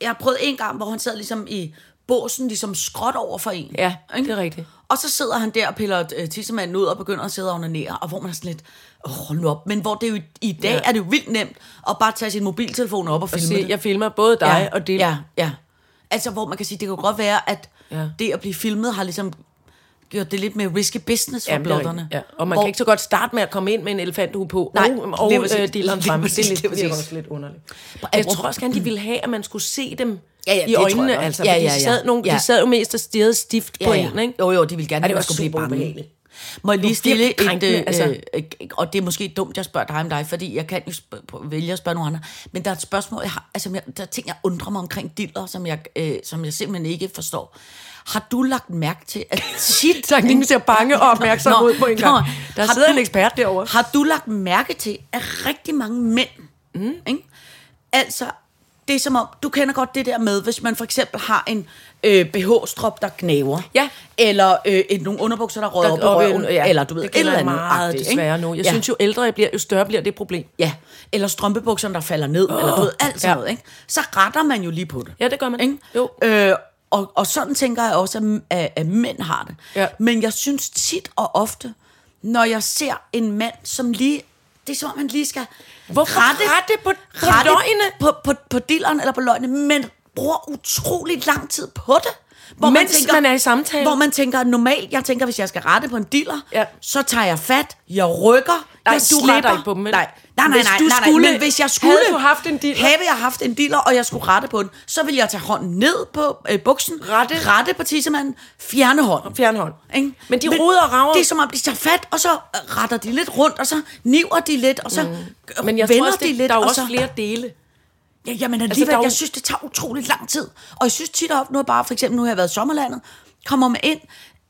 [SPEAKER 4] Jeg har prøvet en gang, hvor han sad ligesom i båsen, ligesom skråt over for en.
[SPEAKER 3] Ja, det er rigtigt.
[SPEAKER 4] Og så sidder han der og piller øh, tissemanden ud og begynder at sidde og onanere, og hvor man er sådan lidt, åh, hold nu op. Men hvor det er jo, i dag ja.
[SPEAKER 3] Ja.
[SPEAKER 4] er det jo vildt nemt at bare tage sin mobiltelefon op og
[SPEAKER 3] Og
[SPEAKER 4] filme
[SPEAKER 3] se,
[SPEAKER 4] det.
[SPEAKER 3] jeg filmer både dig ja. og det.
[SPEAKER 4] Ja, ja. Altså, hvor man kan sige, det kan jo godt være, at ja.
[SPEAKER 3] Ja.
[SPEAKER 4] det at blive filmet har ligesom gjort det lidt mere risky business for
[SPEAKER 3] Jamen, det er
[SPEAKER 4] blotterne.
[SPEAKER 3] rigtigt. Ja. Og man
[SPEAKER 4] hvor,
[SPEAKER 3] kan ikke så godt starte med at komme ind med en elefanthue på,
[SPEAKER 4] Nej,
[SPEAKER 3] og, og
[SPEAKER 4] lige præcis.
[SPEAKER 3] øh, dilleren
[SPEAKER 4] Lige
[SPEAKER 3] *laughs* frem.
[SPEAKER 4] præcis,
[SPEAKER 3] Det er lidt,
[SPEAKER 4] lige præcis.
[SPEAKER 3] virker også lidt underligt. Jeg
[SPEAKER 4] hvor-
[SPEAKER 3] tror også gerne, de ville have, at man skulle se dem
[SPEAKER 4] Ja, ja, det
[SPEAKER 3] i
[SPEAKER 4] tror jeg
[SPEAKER 3] øjnene.
[SPEAKER 4] nok.
[SPEAKER 3] Altså,
[SPEAKER 4] Ja,
[SPEAKER 3] ja, ja,
[SPEAKER 4] ja,
[SPEAKER 3] ja.
[SPEAKER 4] ja.
[SPEAKER 3] De, sad nogle,
[SPEAKER 4] Ja.
[SPEAKER 3] de sad jo mest og stirrede stift på
[SPEAKER 4] ja,
[SPEAKER 3] en,
[SPEAKER 4] ja.
[SPEAKER 3] ikke?
[SPEAKER 4] Jo, jo, de vil gerne,
[SPEAKER 3] Og
[SPEAKER 4] at
[SPEAKER 3] det
[SPEAKER 4] man
[SPEAKER 3] var
[SPEAKER 4] skulle blive
[SPEAKER 3] super
[SPEAKER 4] bange.
[SPEAKER 3] ubehageligt.
[SPEAKER 4] Må jeg lige
[SPEAKER 3] Det var
[SPEAKER 4] stille
[SPEAKER 3] virkelig
[SPEAKER 4] et...
[SPEAKER 3] krænkende,
[SPEAKER 4] Øh,
[SPEAKER 3] altså.
[SPEAKER 4] øh, og det er måske dumt, jeg spørger dig om dig, fordi jeg kan jo sp- på- vælge at spørge nogle andre. Men der er et spørgsmål, jeg har, altså, jeg, der er ting, jeg undrer mig omkring diller, som jeg, øh, som jeg simpelthen ikke forstår. Har du lagt mærke til,
[SPEAKER 3] *laughs*
[SPEAKER 4] at tit...
[SPEAKER 3] Tak, Line ser bange og opmærksom
[SPEAKER 4] *laughs* Nå,
[SPEAKER 3] ud på en
[SPEAKER 4] nå.
[SPEAKER 3] gang. Der
[SPEAKER 4] Har
[SPEAKER 3] sidder
[SPEAKER 4] du-
[SPEAKER 3] en ekspert derovre.
[SPEAKER 4] Har du lagt mærke til, at rigtig mange mænd, mm. ikke? altså, det er som om, du kender godt det der med, hvis man for eksempel har en øh, BH-strop, der knæver,
[SPEAKER 3] Ja.
[SPEAKER 4] eller øh, et, nogle underbukser, der rører op på
[SPEAKER 3] Og-
[SPEAKER 4] røven, ja.
[SPEAKER 3] ja,
[SPEAKER 4] eller du ved,
[SPEAKER 3] det
[SPEAKER 4] et eller
[SPEAKER 3] kender jeg
[SPEAKER 4] andet.
[SPEAKER 3] meget
[SPEAKER 4] agtigt, ikke?
[SPEAKER 3] desværre nu. Jeg
[SPEAKER 4] ja.
[SPEAKER 3] synes jo ældre jeg bliver, jo større bliver det problem.
[SPEAKER 4] Ja, eller strømpebukserne, der falder ned, oh, eller du ved, alt sådan ja.
[SPEAKER 3] ja.
[SPEAKER 4] noget, ikke? Så retter man jo lige på det.
[SPEAKER 3] Ja, det gør man.
[SPEAKER 4] Ikke?
[SPEAKER 3] Jo.
[SPEAKER 4] Øh, og, og sådan tænker jeg også, at, at, at mænd har det.
[SPEAKER 3] Ja.
[SPEAKER 4] Men jeg synes tit og ofte, når jeg ser en mand, som lige... Det er som om, han lige skal
[SPEAKER 3] Hvorfor rette på- på løgene?
[SPEAKER 4] På, på, på dilleren eller på løgne, men bruger utrolig lang tid på det. Hvor
[SPEAKER 3] Mens man er i samtale.
[SPEAKER 4] Hvor man tænker, normalt, jeg tænker, hvis jeg skal rette på en diller,
[SPEAKER 3] Ja.
[SPEAKER 4] så tager jeg fat, jeg rykker,
[SPEAKER 3] Nej,
[SPEAKER 4] jeg
[SPEAKER 3] du
[SPEAKER 4] slipper.
[SPEAKER 3] retter ikke på dem, vel?
[SPEAKER 4] Nej, nej, nej,
[SPEAKER 3] Hvis
[SPEAKER 4] nej,
[SPEAKER 3] du
[SPEAKER 4] nej, nej,
[SPEAKER 3] skulle-
[SPEAKER 4] men hvis jeg skulle...
[SPEAKER 3] Havde du haft en diller?
[SPEAKER 4] Havde jeg haft en diller, og jeg skulle rette på den, så ville jeg tage hånden ned på øh, buksen,
[SPEAKER 3] Rette.
[SPEAKER 4] rette på tissemanden, fjerne hånden.
[SPEAKER 3] Fjernhånd.
[SPEAKER 4] Ikke?
[SPEAKER 3] Men de roder og rager.
[SPEAKER 4] Det er som om, de tager fat, og så øh, retter de lidt rundt, og så niver de lidt, og så mm.
[SPEAKER 3] Men jeg
[SPEAKER 4] vender
[SPEAKER 3] tror også,
[SPEAKER 4] de
[SPEAKER 3] det,
[SPEAKER 4] lidt.
[SPEAKER 3] der
[SPEAKER 4] altså.
[SPEAKER 3] er jo
[SPEAKER 4] og
[SPEAKER 3] også
[SPEAKER 4] så,
[SPEAKER 3] flere dele.
[SPEAKER 4] Ja, jamen alligevel,
[SPEAKER 3] der er jo-
[SPEAKER 4] altså, jeg synes, det tager utroligt lang tid. Og jeg synes tit og ofte, nu er jeg bare, for eksempel nu har jeg været i sommerlandet, kommer man ind,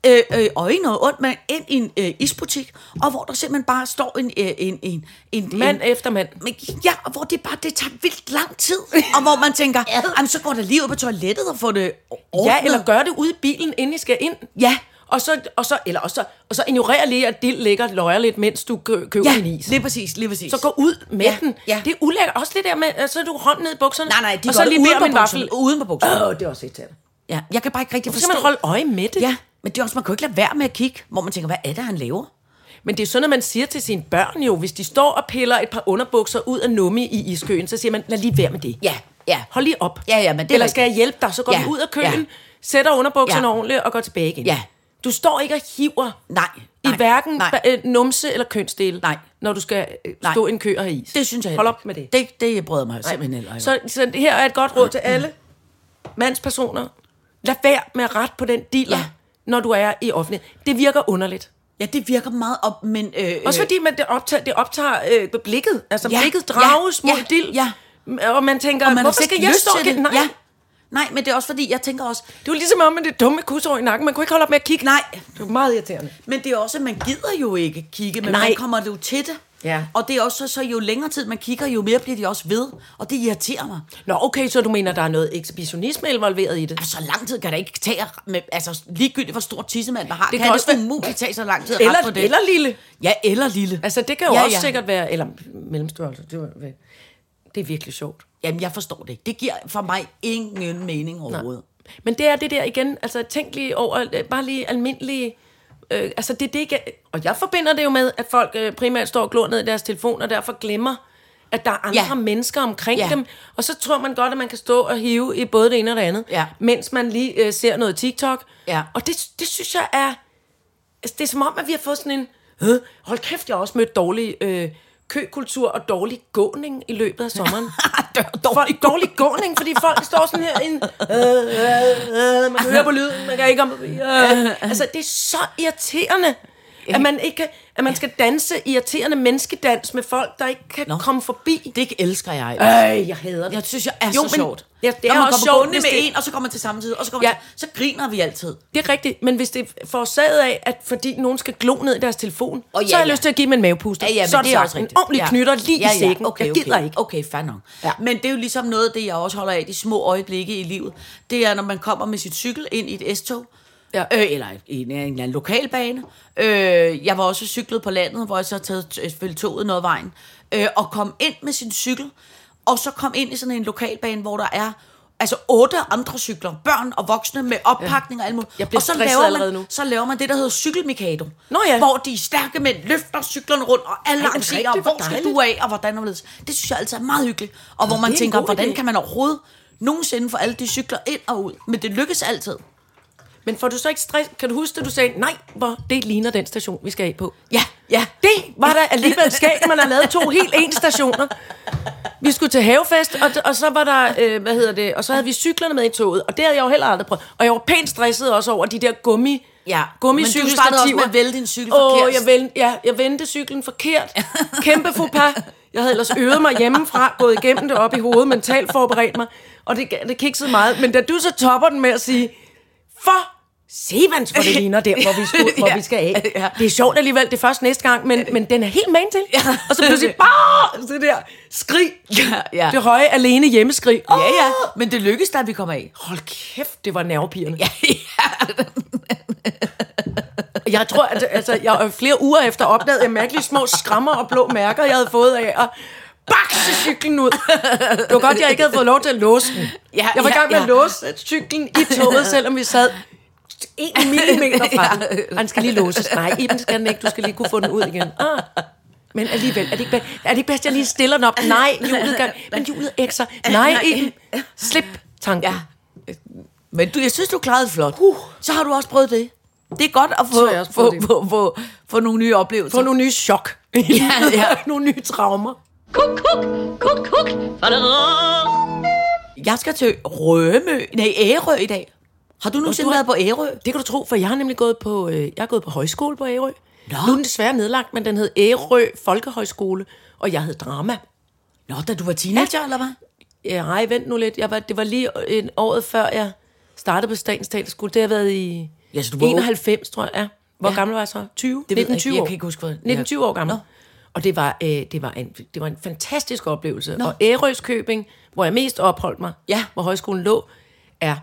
[SPEAKER 4] øh, øh, og ikke noget ondt, men ind i en øh, isbutik, og hvor der simpelthen bare står en... Øh, en, en, en
[SPEAKER 3] Mand
[SPEAKER 4] en,
[SPEAKER 3] efter mand.
[SPEAKER 4] men, ja, og hvor det bare, det tager vildt lang tid, og hvor man
[SPEAKER 3] *laughs*
[SPEAKER 4] tænker, jamen så går der lige ud på toilettet og får det ordnet.
[SPEAKER 3] Ja, eller gør det ude i bilen, inden I skal ind.
[SPEAKER 4] Ja.
[SPEAKER 3] Og så, og så, eller, og så, og så ignorer lige, at det ligger og løjer lidt, mens du kø- køber
[SPEAKER 4] Ja,
[SPEAKER 3] en is.
[SPEAKER 4] lige præcis, lige præcis.
[SPEAKER 3] Så gå ud med
[SPEAKER 4] Ja,
[SPEAKER 3] ja, den.
[SPEAKER 4] ja.
[SPEAKER 3] Ja. Det er ulækkert. Også det der med, at så er du hånden ned i bukserne.
[SPEAKER 4] Nej, nej, de
[SPEAKER 3] og
[SPEAKER 4] gør
[SPEAKER 3] så
[SPEAKER 4] det
[SPEAKER 3] lige
[SPEAKER 4] uden
[SPEAKER 3] beder om
[SPEAKER 4] på
[SPEAKER 3] en
[SPEAKER 4] bukserne,
[SPEAKER 3] vaffel.
[SPEAKER 4] uden på bukserne.
[SPEAKER 3] Åh, det er også irriterende.
[SPEAKER 4] Ja, jeg kan bare ikke rigtig
[SPEAKER 3] Så skal
[SPEAKER 4] forstå.
[SPEAKER 3] man holde øje med det.
[SPEAKER 4] Ja, men det er også, man kan jo ikke lade være med at kigge, hvor man tænker, hvad er det, han laver?
[SPEAKER 3] Men det er sådan, at man siger til sine børn jo, hvis de står og piller et par underbukser ud af nummi i iskøen, så siger man, lad lige være med det.
[SPEAKER 4] Ja, ja.
[SPEAKER 3] Hold lige op.
[SPEAKER 4] Ja, ja, men det er
[SPEAKER 3] Eller
[SPEAKER 4] rigtigt.
[SPEAKER 3] skal jeg hjælpe dig? Så går
[SPEAKER 4] Ja,
[SPEAKER 3] ja, du ud af
[SPEAKER 4] ja.
[SPEAKER 3] køen, ja. sætter underbukserne ja.
[SPEAKER 4] Ja.
[SPEAKER 3] ordentligt og går tilbage igen.
[SPEAKER 4] Ja.
[SPEAKER 3] Du står ikke og hiver
[SPEAKER 4] Nej, nej,
[SPEAKER 3] i hverken
[SPEAKER 4] nej.
[SPEAKER 3] ba- øh, numse eller kønsdel,
[SPEAKER 4] Nej.
[SPEAKER 3] når du skal øh,
[SPEAKER 4] Nej.
[SPEAKER 3] stå i en kø og have is.
[SPEAKER 4] Det synes jeg
[SPEAKER 3] Hold
[SPEAKER 4] heller
[SPEAKER 3] op med det.
[SPEAKER 4] Det, det brød mig simpelthen heller ikke. om.
[SPEAKER 3] Så, så det her er et godt råd til alle mandspersoner. Lad være med at rette på den dealer,
[SPEAKER 4] Ja.
[SPEAKER 3] ja. når du er i offentlighed. Det virker underligt.
[SPEAKER 4] Ja, det virker meget op, men... Øh,
[SPEAKER 3] Også
[SPEAKER 4] øh,
[SPEAKER 3] fordi man det optager, det optager øh, blikket. Altså
[SPEAKER 4] Ja,
[SPEAKER 3] ja, blikket
[SPEAKER 4] ja,
[SPEAKER 3] drages
[SPEAKER 4] ja,
[SPEAKER 3] mod dild.
[SPEAKER 4] ja.
[SPEAKER 3] Og man tænker,
[SPEAKER 4] og
[SPEAKER 3] og
[SPEAKER 4] man
[SPEAKER 3] man
[SPEAKER 4] har
[SPEAKER 3] hvorfor
[SPEAKER 4] slet
[SPEAKER 3] skal
[SPEAKER 4] ikke
[SPEAKER 3] jeg
[SPEAKER 4] lyst
[SPEAKER 3] stå
[SPEAKER 4] til
[SPEAKER 3] igen?
[SPEAKER 4] det.
[SPEAKER 3] Nej.
[SPEAKER 4] Ja.
[SPEAKER 3] Ja.
[SPEAKER 4] Nej, men det er også fordi, jeg tænker også...
[SPEAKER 3] Det var ligesom om med det dumme kusår i nakken. Man kunne ikke holde op med at kigge.
[SPEAKER 4] Nej,
[SPEAKER 3] Det var meget irriterende.
[SPEAKER 4] men det er også, at man gider jo ikke kigge, men Nej.
[SPEAKER 3] Nej.
[SPEAKER 4] man kommer jo til det.
[SPEAKER 3] Ja.
[SPEAKER 4] Og det er også så, så, jo længere tid man kigger, jo mere bliver de også ved. Og det irriterer mig.
[SPEAKER 3] Nå, okay, så du mener, der er noget ekshibitionisme involveret i det?
[SPEAKER 4] Altså, Så lang tid kan der ikke tage, at- med, altså ligegyldigt hvor stor tissemand man har, det
[SPEAKER 3] kan
[SPEAKER 4] kan, kan
[SPEAKER 3] også
[SPEAKER 4] det
[SPEAKER 3] være-
[SPEAKER 4] umuligt tage så lang tid at rette
[SPEAKER 3] Eller,
[SPEAKER 4] på det.
[SPEAKER 3] eller lille.
[SPEAKER 4] Ja, eller lille.
[SPEAKER 3] Altså, det kan jo
[SPEAKER 4] Ja,
[SPEAKER 3] ja, også
[SPEAKER 4] ja.
[SPEAKER 3] ja. sikkert være... Eller mellemstørrelse. Det, var, det er virkelig sjovt.
[SPEAKER 4] Jamen, jeg forstår det ikke. Det giver for mig ingen mening overhovedet.
[SPEAKER 3] Men det er det der igen, altså tænk lige over, øh, bare lige almindelige, øh, altså det er det ikke, og jeg forbinder det jo med, at folk øh, primært står og glor ned i deres telefon, og derfor glemmer, at der er andre
[SPEAKER 4] Ja.
[SPEAKER 3] ja. mennesker omkring
[SPEAKER 4] Ja.
[SPEAKER 3] ja. dem, og så tror man godt, at man kan stå og hive i både det ene og det andet,
[SPEAKER 4] Ja.
[SPEAKER 3] mens man lige øh, ser noget TikTok,
[SPEAKER 4] Ja.
[SPEAKER 3] og det, det synes jeg er, altså, det er som om, at vi har fået sådan en, øh, hold kæft, jeg har også mødt dårlig øh, køkultur og dårlig gåning i løbet af *laughs* sommeren. Folk, dårlig gåning, fordi folk står sådan her ind. Øh, øh, øh, man kan høre på lyden, man kan ikke om... Øh. Altså, det er så irriterende, at man, ikke, kan- at man skal danse irriterende menneskedans med folk, der ikke kan
[SPEAKER 4] Nå.
[SPEAKER 3] Nå. komme forbi.
[SPEAKER 4] Det elsker jeg.
[SPEAKER 3] Øh, jeg hader det.
[SPEAKER 4] Jeg synes, jeg er
[SPEAKER 3] Jo,
[SPEAKER 4] jo, så
[SPEAKER 3] men-
[SPEAKER 4] sjovt.
[SPEAKER 3] Ja, det
[SPEAKER 4] Når
[SPEAKER 3] er
[SPEAKER 4] man
[SPEAKER 3] også
[SPEAKER 4] går på
[SPEAKER 3] sjovt,
[SPEAKER 4] bunden
[SPEAKER 3] hvis
[SPEAKER 4] med
[SPEAKER 3] det-
[SPEAKER 4] en, og så kommer man til samme side, og så kommer
[SPEAKER 3] Ja.
[SPEAKER 4] ja. til, så griner vi altid.
[SPEAKER 3] Det er rigtigt, men hvis det er forårsaget af, at fordi nogen skal glo ned i deres telefon,
[SPEAKER 4] Åh,
[SPEAKER 3] oh,
[SPEAKER 4] ja,
[SPEAKER 3] ja, så har jeg
[SPEAKER 4] ja.
[SPEAKER 3] lyst til at give dem en mavepuster. så
[SPEAKER 4] men
[SPEAKER 3] det er også
[SPEAKER 4] rigtigt.
[SPEAKER 3] en ordentlig knytter lige
[SPEAKER 4] ja,
[SPEAKER 3] i sækken.
[SPEAKER 4] Ja, okay,
[SPEAKER 3] jeg gider
[SPEAKER 4] okay.
[SPEAKER 3] ikke.
[SPEAKER 4] Okay, fair nok. Ja.
[SPEAKER 3] Ja.
[SPEAKER 4] Men det er jo ligesom noget af det, jeg også holder af, de små øjeblikke i livet. Det er, når man kommer med sit cykel ind i et S-tog, ja.
[SPEAKER 3] Ja.
[SPEAKER 4] øh, eller i en, en eller anden lokalbane. Øh, jeg var også cyklet på landet, hvor jeg så havde taget øh, selvfølgelig toget noget af vejen, øh, og kom ind med sin cykel, og så kom ind i sådan en lokalbane, hvor der er altså otte andre cykler, børn og voksne med oppakning og alt muligt.
[SPEAKER 3] Jeg bliver
[SPEAKER 4] og så
[SPEAKER 3] stresset
[SPEAKER 4] laver,
[SPEAKER 3] allerede
[SPEAKER 4] man,
[SPEAKER 3] nu.
[SPEAKER 4] så laver man det, der hedder cykelmikado.
[SPEAKER 3] Nå ja.
[SPEAKER 4] Hvor de stærke mænd løfter cyklerne rundt, og alle
[SPEAKER 3] Ej, er det
[SPEAKER 4] arrangerer,
[SPEAKER 3] rigtigt?
[SPEAKER 4] hvor
[SPEAKER 3] Hvor
[SPEAKER 4] skal
[SPEAKER 3] dejligt.
[SPEAKER 4] du af, og hvordan og hvorledes. Det synes jeg altid er meget hyggeligt. Og hvor man
[SPEAKER 3] det er en
[SPEAKER 4] tænker,
[SPEAKER 3] god
[SPEAKER 4] hvordan
[SPEAKER 3] idé.
[SPEAKER 4] kan man overhovedet nogensinde få alle de cykler ind og ud? Men det lykkes altid.
[SPEAKER 3] Men får du så ikke stress? Kan du huske, at du sagde, nej, hvor det ligner den station, vi skal af på?
[SPEAKER 4] Ja, ja.
[SPEAKER 3] Det var der alligevel skægt, man har lavet to helt ens stationer. Vi skulle til havefest, og, og så var der, øh, hvad hedder det, og så havde vi cyklerne med i toget, og det havde jeg jo heller aldrig prøvet. Og jeg var pænt stresset også over de der gummi,
[SPEAKER 4] Ja,
[SPEAKER 3] gummicykelstativer.
[SPEAKER 4] men du startede også med at vælge din cykel forkert.
[SPEAKER 3] Åh, jeg, vælge, ja, jeg vendte cyklen
[SPEAKER 4] *laughs*
[SPEAKER 3] forkert. Kæmpe faux pas. Jeg havde ellers øvet mig hjemmefra, gået igennem det op i hovedet, mentalt forberedt mig, og det, det kiksede meget. Men da du så topper den med at sige, for Sevans, hvor det ligner der, hvor vi, skulle, hvor
[SPEAKER 4] *laughs* Ja.
[SPEAKER 3] vi skal af.
[SPEAKER 4] Ja.
[SPEAKER 3] Det er sjovt alligevel, det er først næste gang, men, men den er helt man til.
[SPEAKER 4] Ja.
[SPEAKER 3] *laughs* Og så pludselig, bare Altså det der skrig.
[SPEAKER 4] Ja, ja.
[SPEAKER 3] Det høje, alene hjemmeskrig.
[SPEAKER 4] Ja, ja. Men det lykkes da, at vi kommer af.
[SPEAKER 3] Hold kæft, det var nervepirrende.
[SPEAKER 4] Ja, ja.
[SPEAKER 3] Jeg tror, at altså, jeg øh, flere uger efter opdagede jeg mærkelige små skrammer og blå mærker, jeg havde fået af at bakse cyklen ud. Det var godt, jeg ikke havde fået lov til at låse den.
[SPEAKER 4] Ja,
[SPEAKER 3] jeg var i
[SPEAKER 4] ja,
[SPEAKER 3] gang med
[SPEAKER 4] ja.
[SPEAKER 3] at låse cyklen i toget, selvom vi sad en millimeter fra den. Og den skal lige låses. Nej, Iben det skal den ikke. Du skal lige kunne få den ud igen. Ah. Men alligevel, er det, ikke bedst, er det ikke bedst, at jeg lige stiller den op? Nej, hjulet gør, men hjulet ekser. Nej, Iben, slip tanken. Ja.
[SPEAKER 4] Men du, jeg synes, du klarede det flot. Uh. Så har du også prøvet det. Det er godt at få,
[SPEAKER 3] har jeg også
[SPEAKER 4] få,
[SPEAKER 3] prøvet
[SPEAKER 4] få, få, få, få nogle nye oplevelser.
[SPEAKER 3] Få nogle nye chok.
[SPEAKER 4] Ja, ja.
[SPEAKER 3] *laughs* nogle nye traumer.
[SPEAKER 2] Kuk, kuk, kuk, kuk.
[SPEAKER 4] Jeg skal til Rømø, nej, Ærø i dag. Har du nogensinde
[SPEAKER 3] du har-
[SPEAKER 4] været på Ærø?
[SPEAKER 3] Det kan du tro, for jeg har nemlig gået på, øh, jeg er gået på højskole på Ærø. Nå. Nu er den desværre nedlagt, men den hed Ærø Folkehøjskole, og jeg hed drama.
[SPEAKER 4] Nå, da du var teenager, ja. eller hvad?
[SPEAKER 3] Ja, Ej, vent nu lidt. Jeg var, det var lige en året før, jeg startede på Statens Teaterskole. Det har været i
[SPEAKER 4] Ja, så du var ung.
[SPEAKER 3] 91, tror jeg. Ja. Hvor ja. gammel var jeg så? 20?
[SPEAKER 4] Det ved jeg ikke.
[SPEAKER 3] 19-20
[SPEAKER 4] Jeg
[SPEAKER 3] år.
[SPEAKER 4] kan ikke huske, hvad-
[SPEAKER 3] 19-20 år gammel.
[SPEAKER 4] Nå.
[SPEAKER 3] Og det var, øh, det, var en, det var en fantastisk oplevelse. Nå. Og Ærøskøbing, hvor jeg mest opholdt mig,
[SPEAKER 4] Ja.
[SPEAKER 3] hvor højskolen lå, er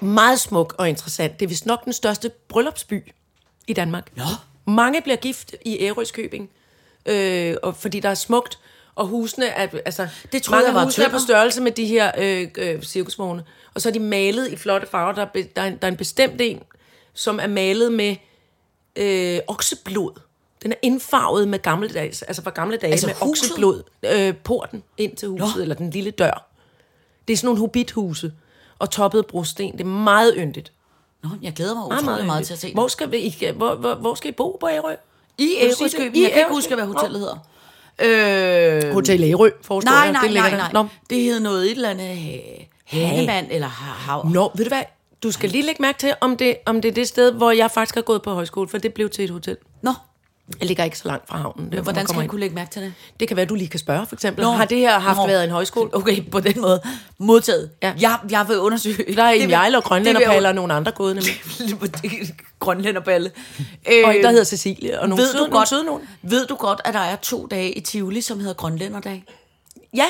[SPEAKER 3] meget smuk og interessant. Det er vist nok den største bryllupsby i Danmark.
[SPEAKER 4] Nå.
[SPEAKER 3] Mange bliver gift i Ærøskøbing, øh, og fordi der er smukt, og husene er, altså,
[SPEAKER 4] Det troede
[SPEAKER 3] mange
[SPEAKER 4] jeg var
[SPEAKER 3] husene er på
[SPEAKER 4] tønder.
[SPEAKER 3] størrelse med de her øh, øh, cirkusvogne. Og så er de malet i flotte farver. Der er, be- der, er en, der er en bestemt en, som er malet med øh, okseblod. Den er indfarvet med gammeldags, altså fra gamle dage,
[SPEAKER 4] Altså
[SPEAKER 3] med
[SPEAKER 4] huset?
[SPEAKER 3] okseblod. Øh, porten ind til huset, Nå. eller den lille dør. Det er sådan nogle hobbithuse og toppet brosten. Det er meget yndigt.
[SPEAKER 4] Nå, jeg glæder mig
[SPEAKER 3] Meget,
[SPEAKER 4] utrolig
[SPEAKER 3] meget,
[SPEAKER 4] meget, meget til at se
[SPEAKER 3] Hvor
[SPEAKER 4] det.
[SPEAKER 3] skal, vi, I, hvor, hvor, hvor skal I bo på Ærø?
[SPEAKER 4] I
[SPEAKER 3] sige det?
[SPEAKER 4] Ærøskøbing,
[SPEAKER 3] I
[SPEAKER 4] jeg kan ikke
[SPEAKER 3] Ærø?
[SPEAKER 4] huske, hvad hotellet hedder. Øh,
[SPEAKER 3] Hotel Ærø, forestår
[SPEAKER 4] nej,
[SPEAKER 3] jeg.
[SPEAKER 4] nej,
[SPEAKER 3] det ligger
[SPEAKER 4] nej, nej.
[SPEAKER 3] Der. Nå.
[SPEAKER 4] Det hed noget et eller andet ha- Hanemand eller ha- hav.
[SPEAKER 3] Nå, ved du hvad? Du skal lige lægge mærke til, om det, om det er det sted, hvor jeg faktisk har gået på højskole, for det blev til et hotel.
[SPEAKER 4] Nå.
[SPEAKER 3] Jeg ligger ikke så langt fra havnen. Der,
[SPEAKER 4] Hvordan skal
[SPEAKER 3] man kunne...
[SPEAKER 4] han kunne lægge mærke til det?
[SPEAKER 3] Det kan være, du lige kan spørge, for eksempel. Nå. Har det her haft Nå. været en *laughs* højskole?
[SPEAKER 4] Okay, på den måde. Modtaget.
[SPEAKER 3] Ja.
[SPEAKER 4] Ja. Jeg, jeg vil undersøge.
[SPEAKER 3] Der er en jeg
[SPEAKER 4] vil-
[SPEAKER 3] og
[SPEAKER 4] det vil jeg
[SPEAKER 3] grønlænderpalle og nogle andre gode, nemlig.
[SPEAKER 4] jo- *laughs* Grønlænderballe.
[SPEAKER 3] Og en, der
[SPEAKER 4] Øh,
[SPEAKER 3] hedder Cecilie, og nogle
[SPEAKER 4] ved,
[SPEAKER 3] søde,
[SPEAKER 4] du
[SPEAKER 3] nogle
[SPEAKER 4] godt,
[SPEAKER 3] søde nogen.
[SPEAKER 4] ved du godt, at der er to dage i Tivoli, som hedder Grønlænderdag?
[SPEAKER 3] Ja,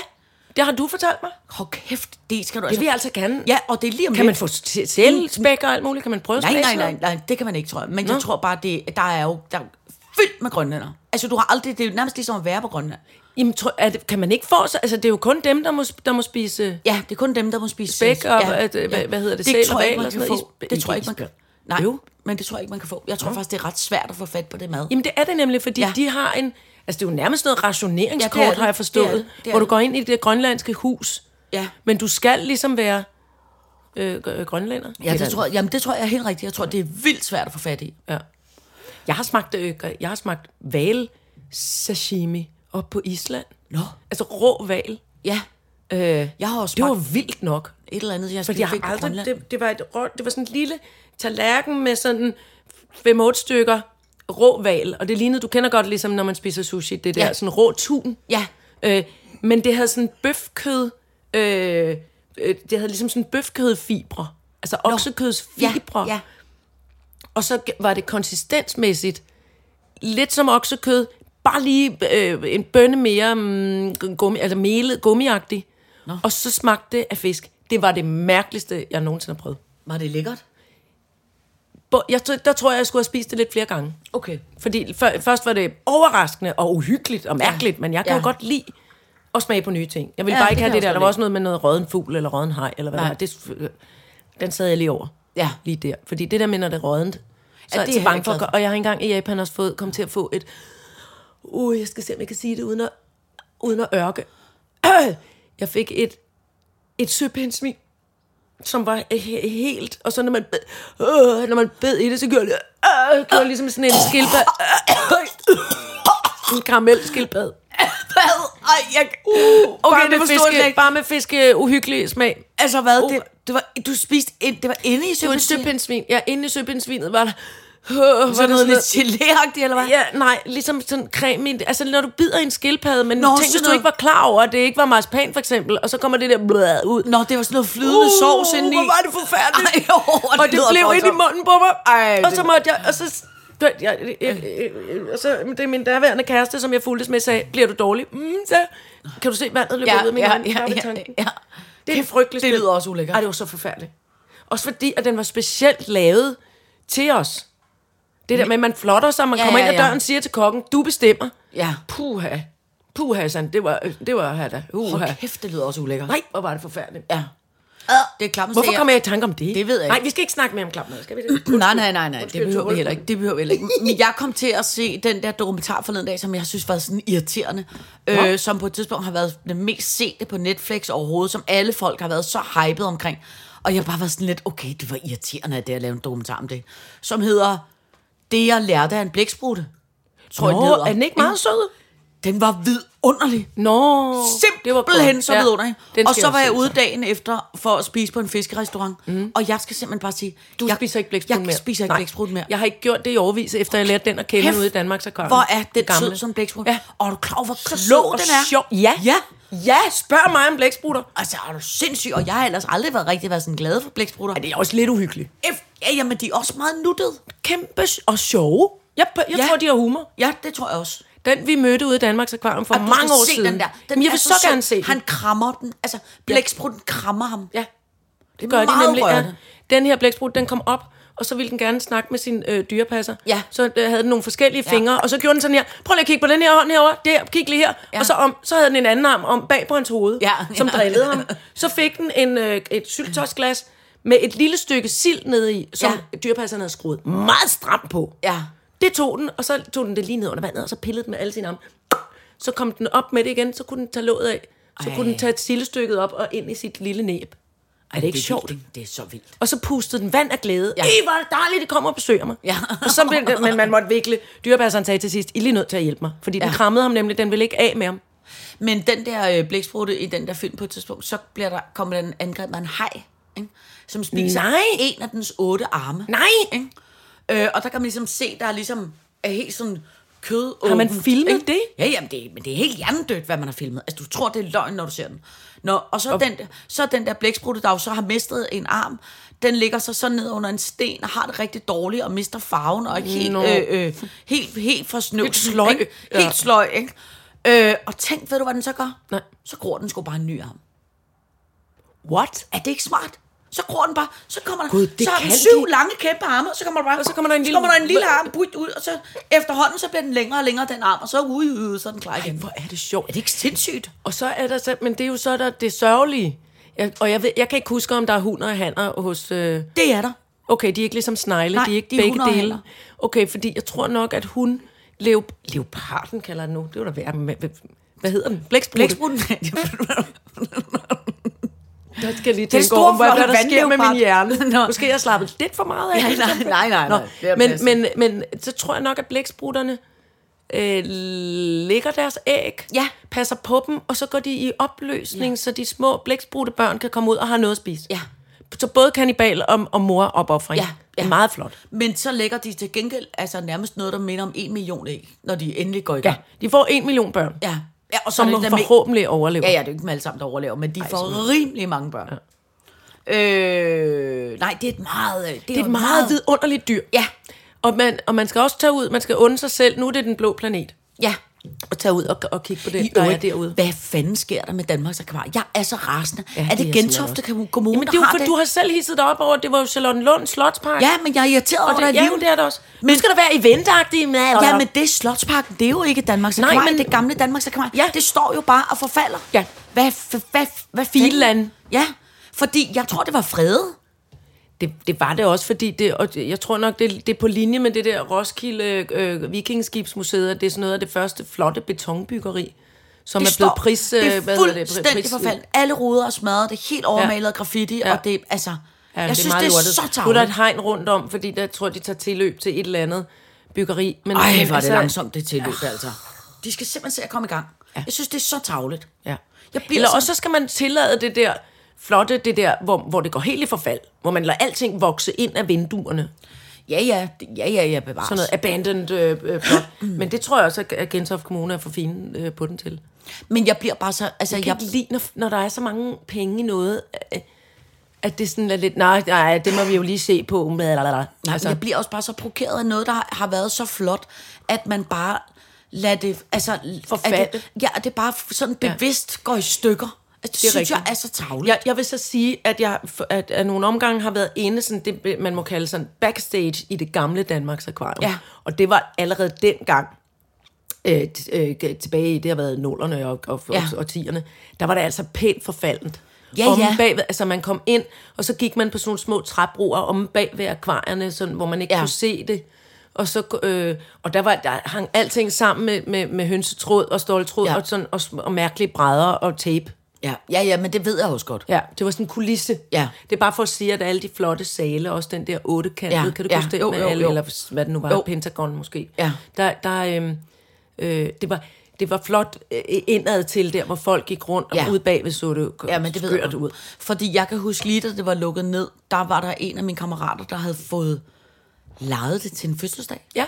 [SPEAKER 3] det har du fortalt mig.
[SPEAKER 4] Hold kæft, det skal du
[SPEAKER 3] Det vil jeg altså gerne.
[SPEAKER 4] Ja, og det er lige om
[SPEAKER 3] Kan man
[SPEAKER 4] lidt.
[SPEAKER 3] få s- selv spæk og alt muligt? Kan man prøve
[SPEAKER 4] Nej,
[SPEAKER 3] smage
[SPEAKER 4] nej,
[SPEAKER 3] sådan
[SPEAKER 4] nej,
[SPEAKER 3] noget?
[SPEAKER 4] nej, det kan man ikke, tror jeg. Men Nå. jeg tror bare, det, der er jo der er jo fyldt med grønlænder. Altså, du har aldrig, det er jo nærmest ligesom at være på Grønland.
[SPEAKER 3] Jamen, tro, er det, kan man ikke få så? Altså, det er jo kun dem, der må, sp- der må spise...
[SPEAKER 4] Ja, det er kun dem, der må spise
[SPEAKER 3] Spæk
[SPEAKER 4] sæl.
[SPEAKER 3] og, at, øh, hvad- hvad hedder det, sæl
[SPEAKER 4] Det
[SPEAKER 3] og
[SPEAKER 4] tror jeg
[SPEAKER 3] hval
[SPEAKER 4] ikke,
[SPEAKER 3] og
[SPEAKER 4] man kan
[SPEAKER 3] sådan noget i
[SPEAKER 4] få.
[SPEAKER 3] sp- i
[SPEAKER 4] Det tror jeg ikke, man kan.
[SPEAKER 3] spæk.
[SPEAKER 4] Nej,
[SPEAKER 3] Jo.
[SPEAKER 4] men det tror jeg ikke, man kan få. Jeg tror faktisk, det er ret svært at få fat på det mad.
[SPEAKER 3] Jamen, det er det nemlig, fordi ja.
[SPEAKER 4] Ja.
[SPEAKER 3] de har en... Altså, det er jo nærmest noget rationeringskort,
[SPEAKER 4] Ja,
[SPEAKER 3] ja,
[SPEAKER 4] det er det.
[SPEAKER 3] har jeg forstået.
[SPEAKER 4] Det er det. Det er
[SPEAKER 3] hvor du
[SPEAKER 4] det.
[SPEAKER 3] går ind i det grønlandske hus.
[SPEAKER 4] Ja.
[SPEAKER 3] Men du skal ligesom være øh, gr- øh, grønlænder.
[SPEAKER 4] Ja, det tror jeg, jamen, det tror jeg er helt rigtigt. Jeg tror, det er vildt svært at få fat i.
[SPEAKER 3] Ja. Jeg har smagt, øh, gr- jeg har smagt val sashimi op på Island.
[SPEAKER 4] Nå.
[SPEAKER 3] Altså rå val.
[SPEAKER 4] Ja,
[SPEAKER 3] Øh,
[SPEAKER 4] jeg har også
[SPEAKER 3] det var
[SPEAKER 4] smagt
[SPEAKER 3] vildt nok.
[SPEAKER 4] et eller andet, jeg
[SPEAKER 3] Fordi jeg har
[SPEAKER 4] fik på
[SPEAKER 3] aldrig,
[SPEAKER 4] Grønland.
[SPEAKER 3] det, det, var et, rå- det var sådan en lille tallerken med sådan 5-8 stykker rå val, og det lignede, du kender godt ligesom, når man spiser sushi, det der
[SPEAKER 4] Ja.
[SPEAKER 3] sådan rå tun.
[SPEAKER 4] Ja.
[SPEAKER 3] Øh, men det havde sådan bøfkød, øh, øh, det havde ligesom sådan bøfkødfibre, altså
[SPEAKER 4] Ja,
[SPEAKER 3] oksekødsfibre,
[SPEAKER 4] ja.
[SPEAKER 3] og så g- var det konsistensmæssigt lidt som oksekød, bare lige øh, en bønne mere mm, gummi, altså melet, gummiagtig. Og så smagte det af fisk. Det var det mærkeligste, jeg nogensinde har prøvet.
[SPEAKER 4] Var det lækkert?
[SPEAKER 3] Bo- Jeg, tror- der tror jeg, jeg skulle have spist det lidt flere gange.
[SPEAKER 4] Okay.
[SPEAKER 3] Fordi før, først var det overraskende og uhyggeligt og mærkeligt, ja.
[SPEAKER 4] Ja.
[SPEAKER 3] men jeg kan
[SPEAKER 4] Ja.
[SPEAKER 3] jo godt lide at smage på nye ting. Jeg ville
[SPEAKER 4] Ja,
[SPEAKER 3] bare
[SPEAKER 4] det
[SPEAKER 3] ikke
[SPEAKER 4] kan
[SPEAKER 3] have det
[SPEAKER 4] jeg
[SPEAKER 3] der. Der
[SPEAKER 4] også godt
[SPEAKER 3] var også noget med noget rødden fugl eller rødden hej, eller hvad
[SPEAKER 4] Nej.
[SPEAKER 3] Nej. det var. Det, den sad jeg lige over.
[SPEAKER 4] Ja.
[SPEAKER 3] Lige der. Fordi det der minder det rødent. Så
[SPEAKER 4] Ja,
[SPEAKER 3] er jeg
[SPEAKER 4] det
[SPEAKER 3] til
[SPEAKER 4] er
[SPEAKER 3] bange
[SPEAKER 4] jeg
[SPEAKER 3] for at
[SPEAKER 4] glad
[SPEAKER 3] gøre- Og jeg har engang i Japan også fået, kom til at få et... Uh, jeg skal se, om jeg kan sige det uden at, uden at ørke. *clears throat* Jeg fik et, et søpindsmin, som var he- helt... Og så når man bed, øh, når man bed i det, så gjorde det... Øh, gjorde ligesom sådan en skildpad. en karamelskildpad.
[SPEAKER 4] Hvad? Ej, jeg...
[SPEAKER 3] Uh,
[SPEAKER 4] Okay,
[SPEAKER 3] bare,
[SPEAKER 4] det
[SPEAKER 3] med
[SPEAKER 4] forstod jeg
[SPEAKER 3] fiske,
[SPEAKER 4] ikke.
[SPEAKER 3] bare med fiske uhyggelig smag.
[SPEAKER 4] Altså hvad?
[SPEAKER 3] Uh.
[SPEAKER 4] Det, det var, du spiste ind, det var inde i
[SPEAKER 3] Det var en
[SPEAKER 4] søbenstil?
[SPEAKER 3] søpindsvin. Ja, inde i søpindsvinet var der... Øh, var der
[SPEAKER 4] Så noget
[SPEAKER 3] sådan
[SPEAKER 4] lidt gelé eller hvad?
[SPEAKER 3] Ja, nej, ligesom sådan creme i, altså når du bider i en skildpadde, men Nå,
[SPEAKER 4] Nå,
[SPEAKER 3] tænk,
[SPEAKER 4] sådan
[SPEAKER 3] hvis du
[SPEAKER 4] noget.
[SPEAKER 3] ikke var klar over, at det ikke var marcipan for eksempel, og så kommer det der blad ud.
[SPEAKER 4] Nå, det var sådan noget flydende uh, sovs indeni.
[SPEAKER 3] hvor var det forfærdeligt.
[SPEAKER 4] Ej, åh,
[SPEAKER 3] og det
[SPEAKER 4] lyder
[SPEAKER 3] blev ind i
[SPEAKER 4] voldsomt.
[SPEAKER 3] munden på mig.
[SPEAKER 4] Ej,
[SPEAKER 3] og
[SPEAKER 4] det-
[SPEAKER 3] så måtte jeg, og så... Jeg, jeg, jeg, jeg, jeg, og så, det er min daværende kæreste, som jeg fulgtes med, sagde, bliver du dårlig? Mm, så kan du se vandet løbe ud af min hånd? Bare ved tanken.
[SPEAKER 4] ja.
[SPEAKER 3] Det er en frygtelig
[SPEAKER 4] Det
[SPEAKER 3] spil.
[SPEAKER 4] lyder også ulækkert.
[SPEAKER 3] Ej, det var så forfærdeligt. Også fordi, at den var specielt lavet til os. Det der med, at man flotter sig, man ja,
[SPEAKER 4] Ja,
[SPEAKER 3] kommer
[SPEAKER 4] ja,
[SPEAKER 3] ind ad
[SPEAKER 4] ja.
[SPEAKER 3] døren og siger til kokken, du bestemmer.
[SPEAKER 4] Ja.
[SPEAKER 3] Puha. Puha, sådan. Det var, øh, det var hada. Uha.
[SPEAKER 4] Hold kæft, det lyder også ulækkert.
[SPEAKER 3] Nej, hvor var det forfærdeligt.
[SPEAKER 4] Ja. Det er klamt.
[SPEAKER 3] Hvorfor kom jeg i tanke om det?
[SPEAKER 4] Det ved jeg ikke.
[SPEAKER 3] Nej, vi skal ikke snakke mere om klapmad, skal vi det?
[SPEAKER 4] *clears throat* Nej, nej, nej, nej,
[SPEAKER 3] Undskyld,
[SPEAKER 4] det behøver vi
[SPEAKER 3] Torben.
[SPEAKER 4] heller ikke. Det behøver vi heller ikke. Men jeg kom til at se den der dokumentar forleden dag, som jeg synes var sådan irriterende, øh, som på et tidspunkt har været den mest sete på Netflix overhovedet, som alle folk har været så hyped omkring. Og jeg har bare var sådan lidt, okay, det var irriterende, at det at lave en dokumentar om det, som hedder Det, jeg lærte af en blæksprutte. Tror jeg, den
[SPEAKER 3] Nå,
[SPEAKER 4] hedder.
[SPEAKER 3] er den ikke meget sød?
[SPEAKER 4] Den var vidunderlig.
[SPEAKER 3] Nå, det var
[SPEAKER 4] Simpelthen
[SPEAKER 3] godt.
[SPEAKER 4] så vidunderlig.
[SPEAKER 3] den
[SPEAKER 4] og
[SPEAKER 3] skal
[SPEAKER 4] så
[SPEAKER 3] jeg
[SPEAKER 4] var jeg
[SPEAKER 3] se,
[SPEAKER 4] ude
[SPEAKER 3] så. Mhm.
[SPEAKER 4] dagen efter for at spise på en fiskerestaurant. Mm. Og jeg skal simpelthen bare sige...
[SPEAKER 3] Du
[SPEAKER 4] jeg,
[SPEAKER 3] spiser ikke blæksprut mere?
[SPEAKER 4] Jeg spiser ikke
[SPEAKER 3] Nej.
[SPEAKER 4] blæksprut mere.
[SPEAKER 3] Jeg har ikke gjort det i overvis, efter jeg lærte den at kende
[SPEAKER 4] Kæft,
[SPEAKER 3] ude i Danmark, så kom
[SPEAKER 4] Hvor er den sød som blæksprut?
[SPEAKER 3] Ja.
[SPEAKER 4] Og er du klar over, hvor
[SPEAKER 3] Så
[SPEAKER 4] klog
[SPEAKER 3] sød og
[SPEAKER 4] den er?
[SPEAKER 3] Sjov. Ja.
[SPEAKER 4] Ja.
[SPEAKER 3] Ja, spørg mig om blæksprutter.
[SPEAKER 4] Altså, er du sindssyg? Og jeg har ellers aldrig været rigtig været sådan glad for blæksprutter.
[SPEAKER 3] Det er også lidt uhyggeligt.
[SPEAKER 4] F- ja, jamen, de er også meget nuttede.
[SPEAKER 3] Kæmpe s- og sjove. Jeg, jeg
[SPEAKER 4] Ja.
[SPEAKER 3] tror, de har humor.
[SPEAKER 4] Ja, det tror jeg også.
[SPEAKER 3] Den, vi mødte ude i Danmarks Akvarium for
[SPEAKER 4] Og du
[SPEAKER 3] mange
[SPEAKER 4] skal
[SPEAKER 3] år
[SPEAKER 4] se
[SPEAKER 3] siden.
[SPEAKER 4] Den der. Den
[SPEAKER 3] Men jeg
[SPEAKER 4] er
[SPEAKER 3] vil så,
[SPEAKER 4] sød.
[SPEAKER 3] gerne se den.
[SPEAKER 4] Han krammer den. Altså, blæksprutten krammer ham.
[SPEAKER 3] Ja, det
[SPEAKER 4] er
[SPEAKER 3] gør de
[SPEAKER 4] meget
[SPEAKER 3] nemlig. Ja.
[SPEAKER 4] rørende.
[SPEAKER 3] Den her blæksprut, den kom op, og så ville den gerne snakke med sin øh, dyrepasser.
[SPEAKER 4] Ja.
[SPEAKER 3] Så øh, havde den nogle forskellige
[SPEAKER 4] Ja.
[SPEAKER 3] fingre, og så gjorde den sådan her. Prøv lige at kigge på den her hånd herovre. Der, kig lige her.
[SPEAKER 4] Ja.
[SPEAKER 3] Og så, om, så havde den en anden arm om bag på hans hoved,
[SPEAKER 4] Ja.
[SPEAKER 3] som
[SPEAKER 4] Ja.
[SPEAKER 3] drillede ham. Så fik den en, øh, et syltosglas med et lille stykke sild nede i, som ja.
[SPEAKER 4] Ja.
[SPEAKER 3] dyrepasseren havde skruet meget stramt på.
[SPEAKER 4] Ja.
[SPEAKER 3] Det tog den, og så tog den det lige ned under vandet, og så pillede den med alle sine arme. Så kom den op med det igen, så kunne den tage låget af. Så Ej.
[SPEAKER 4] Ej.
[SPEAKER 3] kunne den tage et sildestykket op og ind i sit lille næb. Ej, det er ikke
[SPEAKER 4] vildt,
[SPEAKER 3] sjovt.
[SPEAKER 4] ikke? Det er så vildt.
[SPEAKER 3] Og så pustede den vand af glæde. Ja.
[SPEAKER 4] Ja.
[SPEAKER 3] Ej, hvor er det dejligt, det kommer og besøger mig.
[SPEAKER 4] Ja.
[SPEAKER 3] og så blev det, men man måtte virkelig... Dyrepasseren sagde til sidst, I er lige nødt til at hjælpe mig. Fordi ja. den
[SPEAKER 4] Ja.
[SPEAKER 3] krammede ham nemlig, den ville ikke af med ham.
[SPEAKER 4] Men den der øh, blæksprutte i den der film på et tidspunkt, så bliver der, kommer den angrebet af en haj, ikke? som spiser
[SPEAKER 3] Nej.
[SPEAKER 4] en af dens otte arme.
[SPEAKER 3] Nej!
[SPEAKER 4] Ikke? Øh, og der kan man ligesom se, der er ligesom er helt sådan kød.
[SPEAKER 3] Har man filmet det?
[SPEAKER 4] Ja, jamen det, men det er helt hjernedødt, hvad man har filmet. Altså, du tror, det er løgn, når du ser den. Nå, og så, den, så den der blæksprutte, der jo så har mistet en arm, den ligger så sådan ned under en sten og har det rigtig dårligt og mister farven og er helt,
[SPEAKER 3] Nå.
[SPEAKER 4] øh, øh, helt, helt for snøv.
[SPEAKER 3] Helt sløj.
[SPEAKER 4] Ikke? Helt
[SPEAKER 3] Ja.
[SPEAKER 4] sløj, ikke? Øh, og tænk, ved du, hvad den så gør?
[SPEAKER 3] Nej.
[SPEAKER 4] Så gror den sgu bare en ny arm.
[SPEAKER 3] What?
[SPEAKER 4] Er det ikke smart? Så gror den bare, så kommer der,
[SPEAKER 3] Gud, det
[SPEAKER 4] så har den
[SPEAKER 3] kan
[SPEAKER 4] syv
[SPEAKER 3] de.
[SPEAKER 4] lange kæmpe arme, og så kommer der bare,
[SPEAKER 3] Og så kommer der en lille-
[SPEAKER 4] så kommer der en lille arm budt ud, og så efterhånden, så bliver den længere og længere, den arm, og så ude, ude, så er den klar igen.
[SPEAKER 3] Hvor er det sjovt.
[SPEAKER 4] Er det ikke sindssygt?
[SPEAKER 3] Og så er der så, men det er jo så der det sørgelige. Jeg, og jeg, ved, jeg kan ikke huske, om der er hunder og hanner hos... Øh,
[SPEAKER 4] Det er der.
[SPEAKER 3] okay, de er ikke ligesom snegle,
[SPEAKER 4] Nej,
[SPEAKER 3] de er ikke
[SPEAKER 4] de
[SPEAKER 3] de
[SPEAKER 4] er
[SPEAKER 3] begge
[SPEAKER 4] hunder og hanner.
[SPEAKER 3] dele. Okay, fordi jeg tror nok, at hun... Leo, leoparden kalder den nu. Det var da værre. men Hvad, hvad hedder den? Blæksprutte. *laughs*
[SPEAKER 4] Blæksprutten.
[SPEAKER 3] Jeg skal lige
[SPEAKER 4] Den
[SPEAKER 3] tænke
[SPEAKER 4] store,
[SPEAKER 3] over, hvad
[SPEAKER 4] flotte
[SPEAKER 3] der sker med min
[SPEAKER 4] vandleopard.
[SPEAKER 3] hjerne.
[SPEAKER 4] *laughs* Nå.
[SPEAKER 3] Måske jeg slappet lidt for meget af.
[SPEAKER 4] Nej, nej,
[SPEAKER 3] *laughs*
[SPEAKER 4] nej, nej,
[SPEAKER 3] Nå,
[SPEAKER 4] nej. Det er
[SPEAKER 3] men,
[SPEAKER 4] plads.
[SPEAKER 3] men, men så tror jeg nok, at blæksprutterne øh, lægger deres æg,
[SPEAKER 4] Ja.
[SPEAKER 3] passer på dem, og så går de i opløsning, ja. så de små blæksprutte børn kan komme ud og har noget at spise.
[SPEAKER 4] Ja.
[SPEAKER 3] Så både kannibal og, og mor opoffring.
[SPEAKER 4] Ja, ja.
[SPEAKER 3] Det er meget flot.
[SPEAKER 4] Men så lægger de til gengæld altså nærmest noget, der minder om en million æg, når de endelig går i
[SPEAKER 3] Ja.
[SPEAKER 4] gang.
[SPEAKER 3] De får en million børn,
[SPEAKER 4] Ja. ja og så
[SPEAKER 3] som
[SPEAKER 4] er det dem ikke-
[SPEAKER 3] forhåbentlig overlever.
[SPEAKER 4] Ja, ja, det er jo ikke dem alle sammen, der overlever, men de Ej, får rimelig mange børn. Ja. Øh, nej, det er et meget... øh, Det er,
[SPEAKER 3] Det er et meget vidunderligt dyr.
[SPEAKER 4] Ja,
[SPEAKER 3] Og man, og man skal også tage ud, man skal unde sig selv. Nu er det den blå planet.
[SPEAKER 4] ja.
[SPEAKER 3] Og tage ud og, og kigge på
[SPEAKER 4] I
[SPEAKER 3] det, der er
[SPEAKER 4] øvrigt,
[SPEAKER 3] derude.
[SPEAKER 4] Hvad fanden sker der med Danmarks Akvarie? Jeg er så rasende. Ja, er
[SPEAKER 3] det er
[SPEAKER 4] det
[SPEAKER 3] jeg
[SPEAKER 4] Gentofte Kommune,
[SPEAKER 3] Jamen, det er jo,
[SPEAKER 4] der har
[SPEAKER 3] for,
[SPEAKER 4] det?
[SPEAKER 3] du har selv hisset dig op over, at det var jo Charlotte Lund Slotspark.
[SPEAKER 4] Ja, men jeg er irriteret
[SPEAKER 3] og
[SPEAKER 4] over
[SPEAKER 3] det,
[SPEAKER 4] dig
[SPEAKER 3] ja, men det er det også. Men, nu skal der være eventagtige med.
[SPEAKER 4] Ja, men det er Slotsparken, det er jo ikke Danmarks
[SPEAKER 3] Nej,
[SPEAKER 4] Akvarie. Nej, men
[SPEAKER 3] men-
[SPEAKER 4] det gamle Danmarks Akvarie.
[SPEAKER 3] Ja.
[SPEAKER 4] Det står jo bare og forfalder.
[SPEAKER 3] Ja.
[SPEAKER 4] Hvad, hvad, hvad, hvad
[SPEAKER 3] Finland.
[SPEAKER 4] fanden? Ja, fordi jeg tror, det var fredet.
[SPEAKER 3] det, det var det også, fordi det, og det- jeg tror nok, det, det er på linje med det der Roskilde øh, Vikingskibsmuseet, at det er sådan noget af det første flotte betonbyggeri, som
[SPEAKER 4] det
[SPEAKER 3] er blevet pris... øh,
[SPEAKER 4] det er
[SPEAKER 3] hvad hedder det?
[SPEAKER 4] fuldstændig forfaldet. Alle ruder er smadret, det er helt overmalet ja. graffiti, ja.
[SPEAKER 3] Ja.
[SPEAKER 4] og det altså... Ja, jeg
[SPEAKER 3] det
[SPEAKER 4] det synes, det er så
[SPEAKER 3] Nu er der
[SPEAKER 4] tarveligt.
[SPEAKER 3] et hegn rundt om, fordi der tror jeg, de tager tilløb til et eller andet byggeri. Men, altså-
[SPEAKER 4] Ej,
[SPEAKER 3] men
[SPEAKER 4] hvor er det langsomt, det tilløb, altså. De skal simpelthen se at komme i gang. Ja. Jeg synes, det er så tavligt.
[SPEAKER 3] Ja.
[SPEAKER 4] Jeg bliver
[SPEAKER 3] Eller
[SPEAKER 4] så-
[SPEAKER 3] også så skal man tillade det der flotte, det der, hvor, hvor det går helt i forfald. Hvor man lader alting vokse ind af vinduerne.
[SPEAKER 4] Ja, ja, det- ja, ja, ja, bevares.
[SPEAKER 3] Sådan noget abandoned øh, øh, plot.
[SPEAKER 4] Mm.
[SPEAKER 3] Men det tror jeg også, at Gentofte Kommune er for fine øh, på den til.
[SPEAKER 4] Men jeg bliver bare så... Altså,
[SPEAKER 3] Jeg
[SPEAKER 4] jeg,
[SPEAKER 3] kan ikke lide, når, når der er så mange penge i noget, øh, at det sådan er lidt, nej, nej, det må vi jo lige se på. Nej,
[SPEAKER 4] Nej, altså. jeg bliver også bare så provokeret af noget, der har, har været så flot, at man bare lader det... Altså, at
[SPEAKER 3] Forfalde.
[SPEAKER 4] det, ja, at det bare sådan bevidst ja. går i stykker. Altså, det, det
[SPEAKER 3] er
[SPEAKER 4] synes jeg
[SPEAKER 3] rigtigt.
[SPEAKER 4] er så tavligt.
[SPEAKER 3] Jeg, jeg vil så sige, at jeg for- at, at nogle omgange har været inde, sådan det, man må kalde sådan backstage i det gamle Danmarks Akvarium.
[SPEAKER 4] Ja.
[SPEAKER 3] Og det var allerede dengang, øh, t- øh, g- tilbage i, det har været nullerne og, og,
[SPEAKER 4] Ja.
[SPEAKER 3] ja. og, og tierne, der var det altså pænt forfaldent.
[SPEAKER 4] Ja,
[SPEAKER 3] om
[SPEAKER 4] ja.
[SPEAKER 3] Bagved, altså man kom ind, og så gik man på sådan nogle små træbroer om bag ved akvarierne, sådan, hvor man ikke
[SPEAKER 4] Ja.
[SPEAKER 3] ja. kunne se det. Og, så, øh, og der, var, der hang alting sammen med, med, med hønsetråd og ståltråd
[SPEAKER 4] Ja.
[SPEAKER 3] ja. og, sådan, og, sm- og mærkelige brædder og tape.
[SPEAKER 4] Ja, ja, ja, men det ved jeg også godt.
[SPEAKER 3] Ja, det var sådan en kulisse.
[SPEAKER 4] Ja.
[SPEAKER 3] Det er bare for at sige, at alle de flotte sale, også den der ottekantede,
[SPEAKER 4] Ja,
[SPEAKER 3] ja. kan du
[SPEAKER 4] ja.
[SPEAKER 3] ja. huske det?
[SPEAKER 4] Jo,
[SPEAKER 3] med
[SPEAKER 4] jo,
[SPEAKER 3] alle,
[SPEAKER 4] jo.
[SPEAKER 3] Eller hvad det nu var,
[SPEAKER 4] Jo.
[SPEAKER 3] jo. Pentagon måske.
[SPEAKER 4] Ja.
[SPEAKER 3] Der, der, øhm, øh, det, var, det var flot øh, indad til der, hvor folk gik rundt, og
[SPEAKER 4] Ja.
[SPEAKER 3] ja. ude bagved så det
[SPEAKER 4] Ja, men det ved jeg
[SPEAKER 3] skørt
[SPEAKER 4] godt.
[SPEAKER 3] ud.
[SPEAKER 4] ud. Fordi jeg kan huske lige, da det var lukket ned, der var der en af mine kammerater, der havde fået lejet det til en fødselsdag.
[SPEAKER 3] Ja,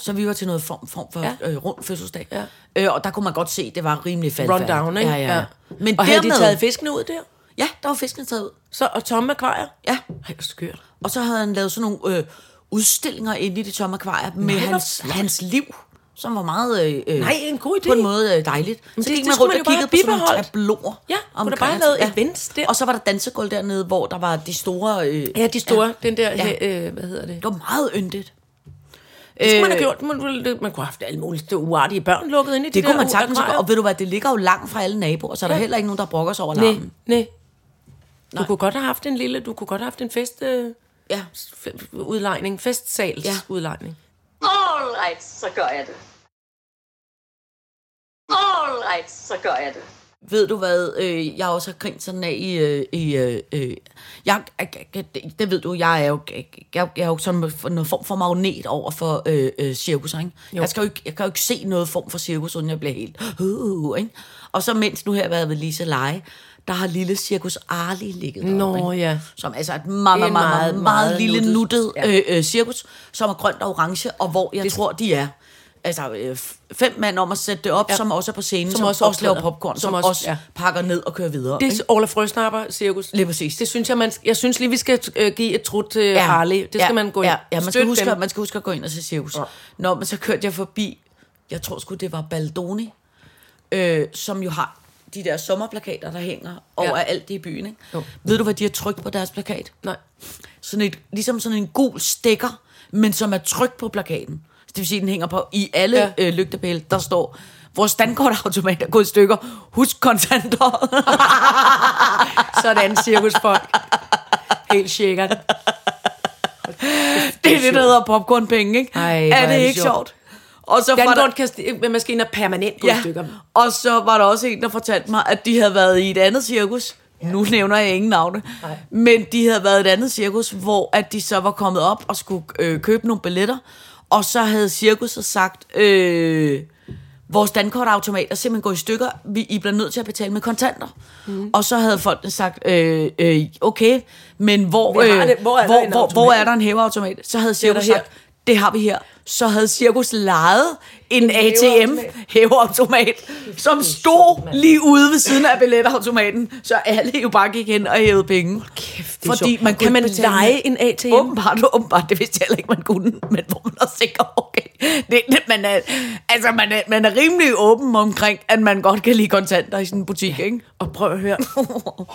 [SPEAKER 4] Så vi var til noget form, form for ja.
[SPEAKER 3] Ja.
[SPEAKER 4] øh, rund fødselsdag.
[SPEAKER 3] Ja.
[SPEAKER 4] Øh, og der kunne man godt se, det var rimelig faldfærdigt.
[SPEAKER 3] rundown, ikke?
[SPEAKER 4] Ja, ja, ja. Men
[SPEAKER 3] og
[SPEAKER 4] dermed,
[SPEAKER 3] havde de taget fiskene ud der?
[SPEAKER 4] Ja, der var fiskene taget ud.
[SPEAKER 3] Så, og tomme akvarier?
[SPEAKER 4] Ja.
[SPEAKER 3] Ej, hvor skørt.
[SPEAKER 4] Og så havde han lavet sådan nogle øh, udstillinger inde i det tomme akvarier med
[SPEAKER 3] hvor
[SPEAKER 4] hans, hans liv, som var meget... Øh,
[SPEAKER 3] Nej, en god idé.
[SPEAKER 4] På en måde øh, dejligt.
[SPEAKER 3] Men
[SPEAKER 4] så
[SPEAKER 3] det-
[SPEAKER 4] gik
[SPEAKER 3] det
[SPEAKER 4] man
[SPEAKER 3] skulle
[SPEAKER 4] rundt
[SPEAKER 3] man
[SPEAKER 4] og
[SPEAKER 3] jo bare
[SPEAKER 4] kiggede på sådan nogle
[SPEAKER 3] bibeholde.
[SPEAKER 4] tabloer.
[SPEAKER 3] Ja, kunne der
[SPEAKER 4] omkring
[SPEAKER 3] bare
[SPEAKER 4] hans-
[SPEAKER 3] have lavet events der?
[SPEAKER 4] Og så var der dansegulv dernede, hvor der var de store... Øh,
[SPEAKER 3] Ja, de store, ja. den der,
[SPEAKER 4] Ja.
[SPEAKER 3] ja. øh, hvad hedder det? Øh,
[SPEAKER 4] Det var meget yndigt.
[SPEAKER 3] Det skulle man have gjort. Man, man kunne have haft alle mulige uartige børn lukket ind i de
[SPEAKER 4] Det
[SPEAKER 3] der
[SPEAKER 4] kunne man sagtens
[SPEAKER 3] akvarier.
[SPEAKER 4] gøre. Og ved du hvad, det ligger jo langt fra alle naboer, så er der
[SPEAKER 3] Ja.
[SPEAKER 4] heller ikke nogen, der brokker sig over
[SPEAKER 3] Nej,
[SPEAKER 4] larmen.
[SPEAKER 3] nej. Du kunne godt have haft en lille, du kunne godt have haft en fest, øh,
[SPEAKER 4] Ja.
[SPEAKER 3] f- udlejning, festsals
[SPEAKER 4] Ja.
[SPEAKER 3] ja. udlejning.
[SPEAKER 2] Alright, så gør jeg det. Alright, så gør jeg det.
[SPEAKER 4] Ved du hvad, øh, jeg også har grint sådan af i... Øh, i øh, øh, jeg, jeg, jeg, det- det ved du, jeg er jo, jeg, jeg, jeg er jo sådan for- noget form for magnet over for øh, øh, cirkus, ikke? Jeg, skal jo ikke, jeg kan jo ikke se noget form for cirkus, uden jeg bliver helt... Uh, uh, ikke? Og så mens nu her har været ved Lise Leje, der har lille Cirkus Arli ligget deroppe, ikke?
[SPEAKER 3] Nå ja.
[SPEAKER 4] som altså er et meget,
[SPEAKER 3] Det er
[SPEAKER 4] meget, meget, meget,
[SPEAKER 3] meget,
[SPEAKER 4] meget
[SPEAKER 3] meget
[SPEAKER 4] lille
[SPEAKER 3] nuttet.
[SPEAKER 4] nuttet
[SPEAKER 3] Ja.
[SPEAKER 4] øh, øh, cirkus, som er grønt og orange, og hvor jeg det... tror, de er altså, øh, f- fem mand om at sætte det op, ja. som også er på scenen, som, som også,
[SPEAKER 3] også
[SPEAKER 4] også laver
[SPEAKER 3] optræder.
[SPEAKER 4] popcorn, som,
[SPEAKER 3] Som
[SPEAKER 4] som også,
[SPEAKER 3] også-
[SPEAKER 4] også ja.
[SPEAKER 3] ja.
[SPEAKER 4] pakker ned og kører videre.
[SPEAKER 3] Det er Ola Frøsnapper cirkus.
[SPEAKER 4] Lige præcis.
[SPEAKER 3] Det synes jeg, man, jeg synes lige, vi skal øh, give et trut til ja. Harley. Det skal
[SPEAKER 4] ja,
[SPEAKER 3] man gå ind.
[SPEAKER 4] Ja, ja man, skal
[SPEAKER 3] Støt
[SPEAKER 4] huske,
[SPEAKER 3] dem.
[SPEAKER 4] man skal huske at gå ind og se cirkus. Ja. Nå, men så kørte jeg forbi, jeg tror sgu, det var Baldoni, øh, som jo har de der sommerplakater, der hænger overalt i byen. Ikke?
[SPEAKER 3] Jo.
[SPEAKER 4] Ved du, hvad de har trykt på deres plakat?
[SPEAKER 3] Nej. *laughs*
[SPEAKER 4] sådan et, ligesom sådan en gul stikker, men som er trykt på plakaten. Det vil sige, den hænger på i alle ja.
[SPEAKER 3] Ja.
[SPEAKER 4] øh, lygtepæle, der står, vores standkortautomat er gået i stykker, husk kontanter.
[SPEAKER 3] *laughs* Sådan cirkusfolk. Helt sikkert.
[SPEAKER 4] det er det, der hedder popcornpenge, ikke?
[SPEAKER 3] Ej, hvor
[SPEAKER 4] er
[SPEAKER 3] er
[SPEAKER 4] det
[SPEAKER 3] det
[SPEAKER 4] ikke
[SPEAKER 3] sjovt.
[SPEAKER 4] sjovt? Og så var der,
[SPEAKER 3] Dankorn kan sti- med maskiner øh, permanent gå ja. i stykker.
[SPEAKER 4] Og så var der også en, der fortalte mig, at de havde været i et andet cirkus. Ja. Nu nævner jeg ingen navne. Nej. Men de havde været i et andet cirkus, hvor at de så var kommet op og skulle øh, købe nogle billetter. Og så havde cirkuset sagt, øh, vores dankortautomat er simpelthen gået i stykker. Vi, I bliver nødt til at betale med kontanter. Mm. Og så havde folkene sagt, øh, øh, okay, men hvor,
[SPEAKER 3] Vi har
[SPEAKER 4] øh,
[SPEAKER 3] det. Hvor er der
[SPEAKER 4] hvor,
[SPEAKER 3] en
[SPEAKER 4] hvor,
[SPEAKER 3] automat?
[SPEAKER 4] hvor er der en hæveautomat? Så havde cirkus
[SPEAKER 3] her.
[SPEAKER 4] sagt, det har vi her. Så havde cirkus lejet en ATM
[SPEAKER 3] hæveautomat.
[SPEAKER 4] hæveautomat, som stod lige ude ved siden af billetautomaten, så alle jo bare gik hen og hævede penge. Kæft,
[SPEAKER 3] det er
[SPEAKER 4] Fordi
[SPEAKER 3] sjovt.
[SPEAKER 4] man kunne
[SPEAKER 3] Kan man
[SPEAKER 4] ikke betale
[SPEAKER 3] lege
[SPEAKER 4] med-
[SPEAKER 3] en ATM?
[SPEAKER 4] Åbenbart, åbenbart, det vidste jeg heller ikke, man kunne, men hvor man også tænker, okay, det, det, man, er, altså, man, er, man er rimelig åben omkring, at man godt kan lide kontanter i sådan en
[SPEAKER 3] *laughs*
[SPEAKER 4] butik, ja. ikke?
[SPEAKER 3] Og prøv at høre.
[SPEAKER 4] *laughs*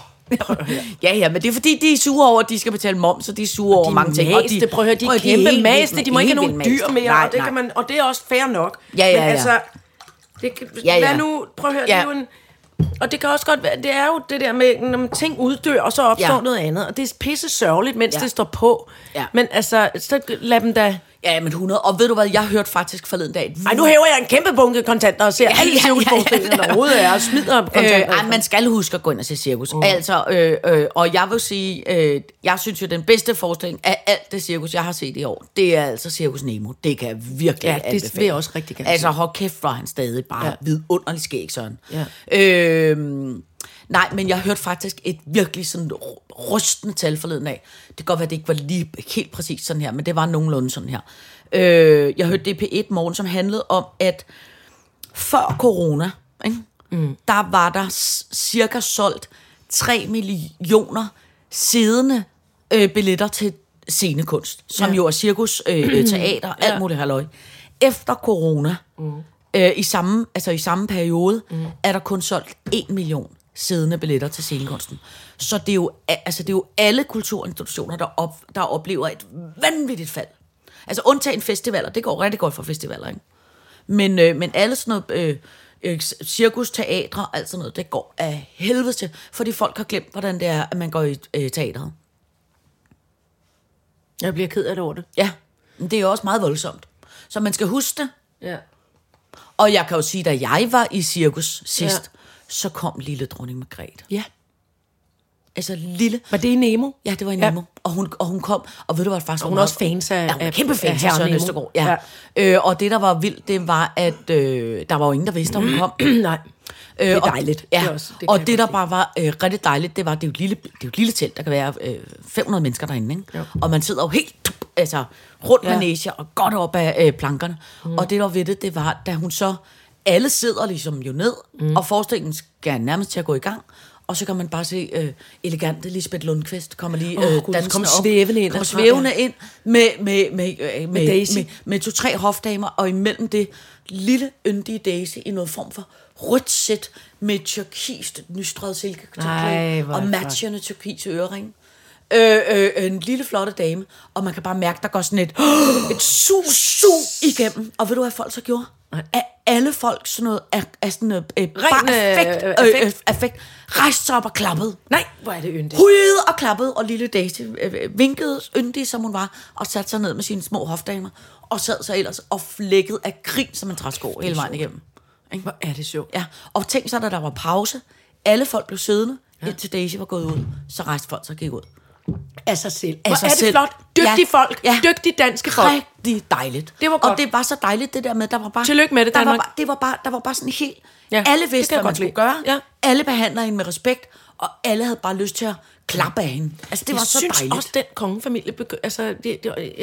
[SPEAKER 4] Ja, ja, men det er fordi, de er sure over, at de skal betale moms, og de er sure over
[SPEAKER 3] de
[SPEAKER 4] mange ting. og
[SPEAKER 3] Maste, prøv at høre, de er
[SPEAKER 4] prøv at høre,
[SPEAKER 3] kæmpe
[SPEAKER 4] helt
[SPEAKER 3] maste.
[SPEAKER 4] vildt-
[SPEAKER 3] De må ikke have
[SPEAKER 4] helt
[SPEAKER 3] nogen
[SPEAKER 4] vildt
[SPEAKER 3] dyr
[SPEAKER 4] maste.
[SPEAKER 3] mere.
[SPEAKER 4] Nej,
[SPEAKER 3] og, det
[SPEAKER 4] nej.
[SPEAKER 3] Kan man, og det er også fair nok.
[SPEAKER 4] Ja, ja,
[SPEAKER 3] Men
[SPEAKER 4] ja.
[SPEAKER 3] altså, det kan,
[SPEAKER 4] Ja, ja.
[SPEAKER 3] Hvad nu? Prøv at høre, ja. det
[SPEAKER 4] Ja.
[SPEAKER 3] er jo en... Og det kan også godt være, det er jo det der med, når man ting uddør, og så opstår
[SPEAKER 4] Ja.
[SPEAKER 3] ja. noget andet. Og det er pisse sørgeligt, mens
[SPEAKER 4] Ja.
[SPEAKER 3] ja. det står på.
[SPEAKER 4] Ja.
[SPEAKER 3] Men altså, så lad dem da...
[SPEAKER 4] Ja, men 100. Og ved du hvad, jeg hørte faktisk forleden dag et
[SPEAKER 3] Ej, nu hæver jeg en kæmpe bunke kontanter og ser ja, alle
[SPEAKER 4] ja, ja,
[SPEAKER 3] cirkusforestillingerne, der
[SPEAKER 4] ja.
[SPEAKER 3] overhovedet er, og smider kontanter.
[SPEAKER 4] Øh, ej, man skal huske at gå ind og se cirkus.
[SPEAKER 3] Mm.
[SPEAKER 4] Uh. Altså, øh, øh, og jeg vil sige, øh, jeg synes jo, den bedste forestilling af alt det cirkus, jeg har set i år, det er altså Cirkus Nemo. Det kan jeg virkelig
[SPEAKER 3] Ja, det
[SPEAKER 4] anbefale.
[SPEAKER 3] vil jeg også rigtig gerne
[SPEAKER 4] Altså, hold kæft, hvor er han stadig bare ja.
[SPEAKER 3] Ja.
[SPEAKER 4] vidunderlig skæg, sådan.
[SPEAKER 3] Ja.
[SPEAKER 4] Øh, nej, men jeg hørte faktisk et virkelig sådan ru- rustende tal forleden af. Det kan godt være, at det ikke var lige helt præcis sådan her, men det var nogenlunde sådan her. Øh, jeg hørte det i P1 morgen, som handlede om, at før corona, ikke? Mm. der var der s- cirka solgt 3 millioner siddende øh, billetter til scenekunst, som ja. jo er cirkus, øh, *clears throat* øh, teater, alt ja. muligt halløj. Efter corona, mm. øh, i, samme, altså i samme periode, mm. er der kun solgt 1 million siddende billetter til scenekunsten. Så det er jo, a- altså det er jo alle kulturinstitutioner, der, op, der oplever et vanvittigt fald. Altså undtagen festivaler, det går rigtig godt for festivaler, ikke? Men, øh, men alle sådan noget... Øh, øh, cirkus, teatre, alt sådan noget, det går af helvede til, fordi folk har glemt, hvordan det er, at man går i øh, teateret.
[SPEAKER 3] Jeg bliver ked af det over det.
[SPEAKER 4] Ja, men det er jo også meget voldsomt. Så man skal huske det.
[SPEAKER 3] Ja.
[SPEAKER 4] Og jeg kan jo sige, da jeg var i cirkus sidst, ja. så kom lille dronning Margrethe.
[SPEAKER 3] ja.
[SPEAKER 4] Altså lille...
[SPEAKER 3] Var det i Nemo?
[SPEAKER 4] Ja, det var i
[SPEAKER 3] Ja.
[SPEAKER 4] Nemo. Ja. Og, hun, og hun kom, og ved du hvad, faktisk...
[SPEAKER 3] hun er
[SPEAKER 4] meget-
[SPEAKER 3] også fans af-
[SPEAKER 4] ja, hun er
[SPEAKER 3] af-
[SPEAKER 4] kæmpe
[SPEAKER 3] af
[SPEAKER 4] fans af,
[SPEAKER 3] herren
[SPEAKER 4] Søren
[SPEAKER 3] Nemo.
[SPEAKER 4] Østergaard. Ja. ja. Øh, og det, der var vildt, det var, at øh, der var jo ingen, der vidste, at
[SPEAKER 3] *clears throat*
[SPEAKER 4] hun kom.
[SPEAKER 3] Nej.
[SPEAKER 4] Øh,
[SPEAKER 3] er dejligt.
[SPEAKER 4] Og, ja,
[SPEAKER 3] Det
[SPEAKER 4] det
[SPEAKER 3] er også- det kan
[SPEAKER 4] og
[SPEAKER 3] jeg
[SPEAKER 4] det,
[SPEAKER 3] godt
[SPEAKER 4] der
[SPEAKER 3] lide.
[SPEAKER 4] bare var øh, rigtig dejligt, det var, det er jo et lille, det er jo et lille telt, der kan være øh, 500 mennesker derinde, ikke?
[SPEAKER 3] Jo.
[SPEAKER 4] Og man sidder jo helt tup, altså, rundt ja.
[SPEAKER 3] Ja.
[SPEAKER 4] manege og godt op af øh, plankerne. Mm. Og det, der var ved det, det var, da hun så, alle sidder ligesom jo ned, mm. og forestillingen skal nærmest til at gå i gang, og så kan man bare se øh, elegante Lisbeth Lundqvist kommer lige
[SPEAKER 3] Åh,
[SPEAKER 4] øh,
[SPEAKER 3] Gud,
[SPEAKER 4] dansende
[SPEAKER 3] kom
[SPEAKER 4] op.
[SPEAKER 3] svævende ind
[SPEAKER 4] Kom
[SPEAKER 3] derfra,
[SPEAKER 4] svævende ind med, med, med, øh, med,
[SPEAKER 3] Daisy.
[SPEAKER 4] med, med to-tre hofdamer, og imellem det lille yndige Daisy i noget form for rødt sæt med tyrkist, nystret
[SPEAKER 3] Ej,
[SPEAKER 4] silkeklæde
[SPEAKER 3] hvor er
[SPEAKER 4] og
[SPEAKER 3] det
[SPEAKER 4] matchende tyrkise ørering. Øh, øh, øh, en lille flotte dame, og man kan bare mærke, der går sådan et, *gasps* et sus, sus igennem. Og ved du, hvad folk så gjorde? At alle folk sådan noget, af, af sådan noget, øh,
[SPEAKER 3] Ren,
[SPEAKER 4] bare
[SPEAKER 3] øh,
[SPEAKER 4] affekt,
[SPEAKER 3] øh,
[SPEAKER 4] øh, øh,
[SPEAKER 3] affekt.
[SPEAKER 4] affekt, rejste sig op og klappede
[SPEAKER 3] Nej, hvor er det yndigt.
[SPEAKER 4] hujede og klappede, og lille Daisy øh, øh, vinkede yndig, som hun var, og satte sig ned med sine små hofdamer, og sad så ellers og flækkede af grin som en træsko hele vejen igennem.
[SPEAKER 3] Hvor er det sjovt.
[SPEAKER 4] Ja, og tænk så, da der var pause, alle folk blev siddende, ja. indtil Daisy var gået ud, så rejste folk så og gik ud.
[SPEAKER 3] af sig selv.
[SPEAKER 4] Af
[SPEAKER 3] Hvor
[SPEAKER 4] sig
[SPEAKER 3] er det
[SPEAKER 4] selv.
[SPEAKER 3] flot. Dygtige
[SPEAKER 4] Ja.
[SPEAKER 3] ja. folk.
[SPEAKER 4] Ja.
[SPEAKER 3] Ja. Dygtige danske folk.
[SPEAKER 4] Rigtig dejligt.
[SPEAKER 3] Det var
[SPEAKER 4] Og
[SPEAKER 3] godt.
[SPEAKER 4] det var så dejligt, det der med, der var bare...
[SPEAKER 3] Tillykke med det,
[SPEAKER 4] der var,
[SPEAKER 3] Danmark.
[SPEAKER 4] bare- det var bare, der var bare sådan helt... Ja,
[SPEAKER 3] Ja,
[SPEAKER 4] alle
[SPEAKER 3] det kan
[SPEAKER 4] vidste, hvad
[SPEAKER 3] jeg
[SPEAKER 4] man
[SPEAKER 3] godt
[SPEAKER 4] skulle
[SPEAKER 3] lide.
[SPEAKER 4] gøre.
[SPEAKER 3] Ja.
[SPEAKER 4] Alle behandler hende med respekt, og alle havde bare lyst til at klappe af hende. Altså, det var
[SPEAKER 3] jeg
[SPEAKER 4] så
[SPEAKER 3] synes
[SPEAKER 4] dejligt.
[SPEAKER 3] også, den kongefamilie... Begy- altså, det, det, jeg,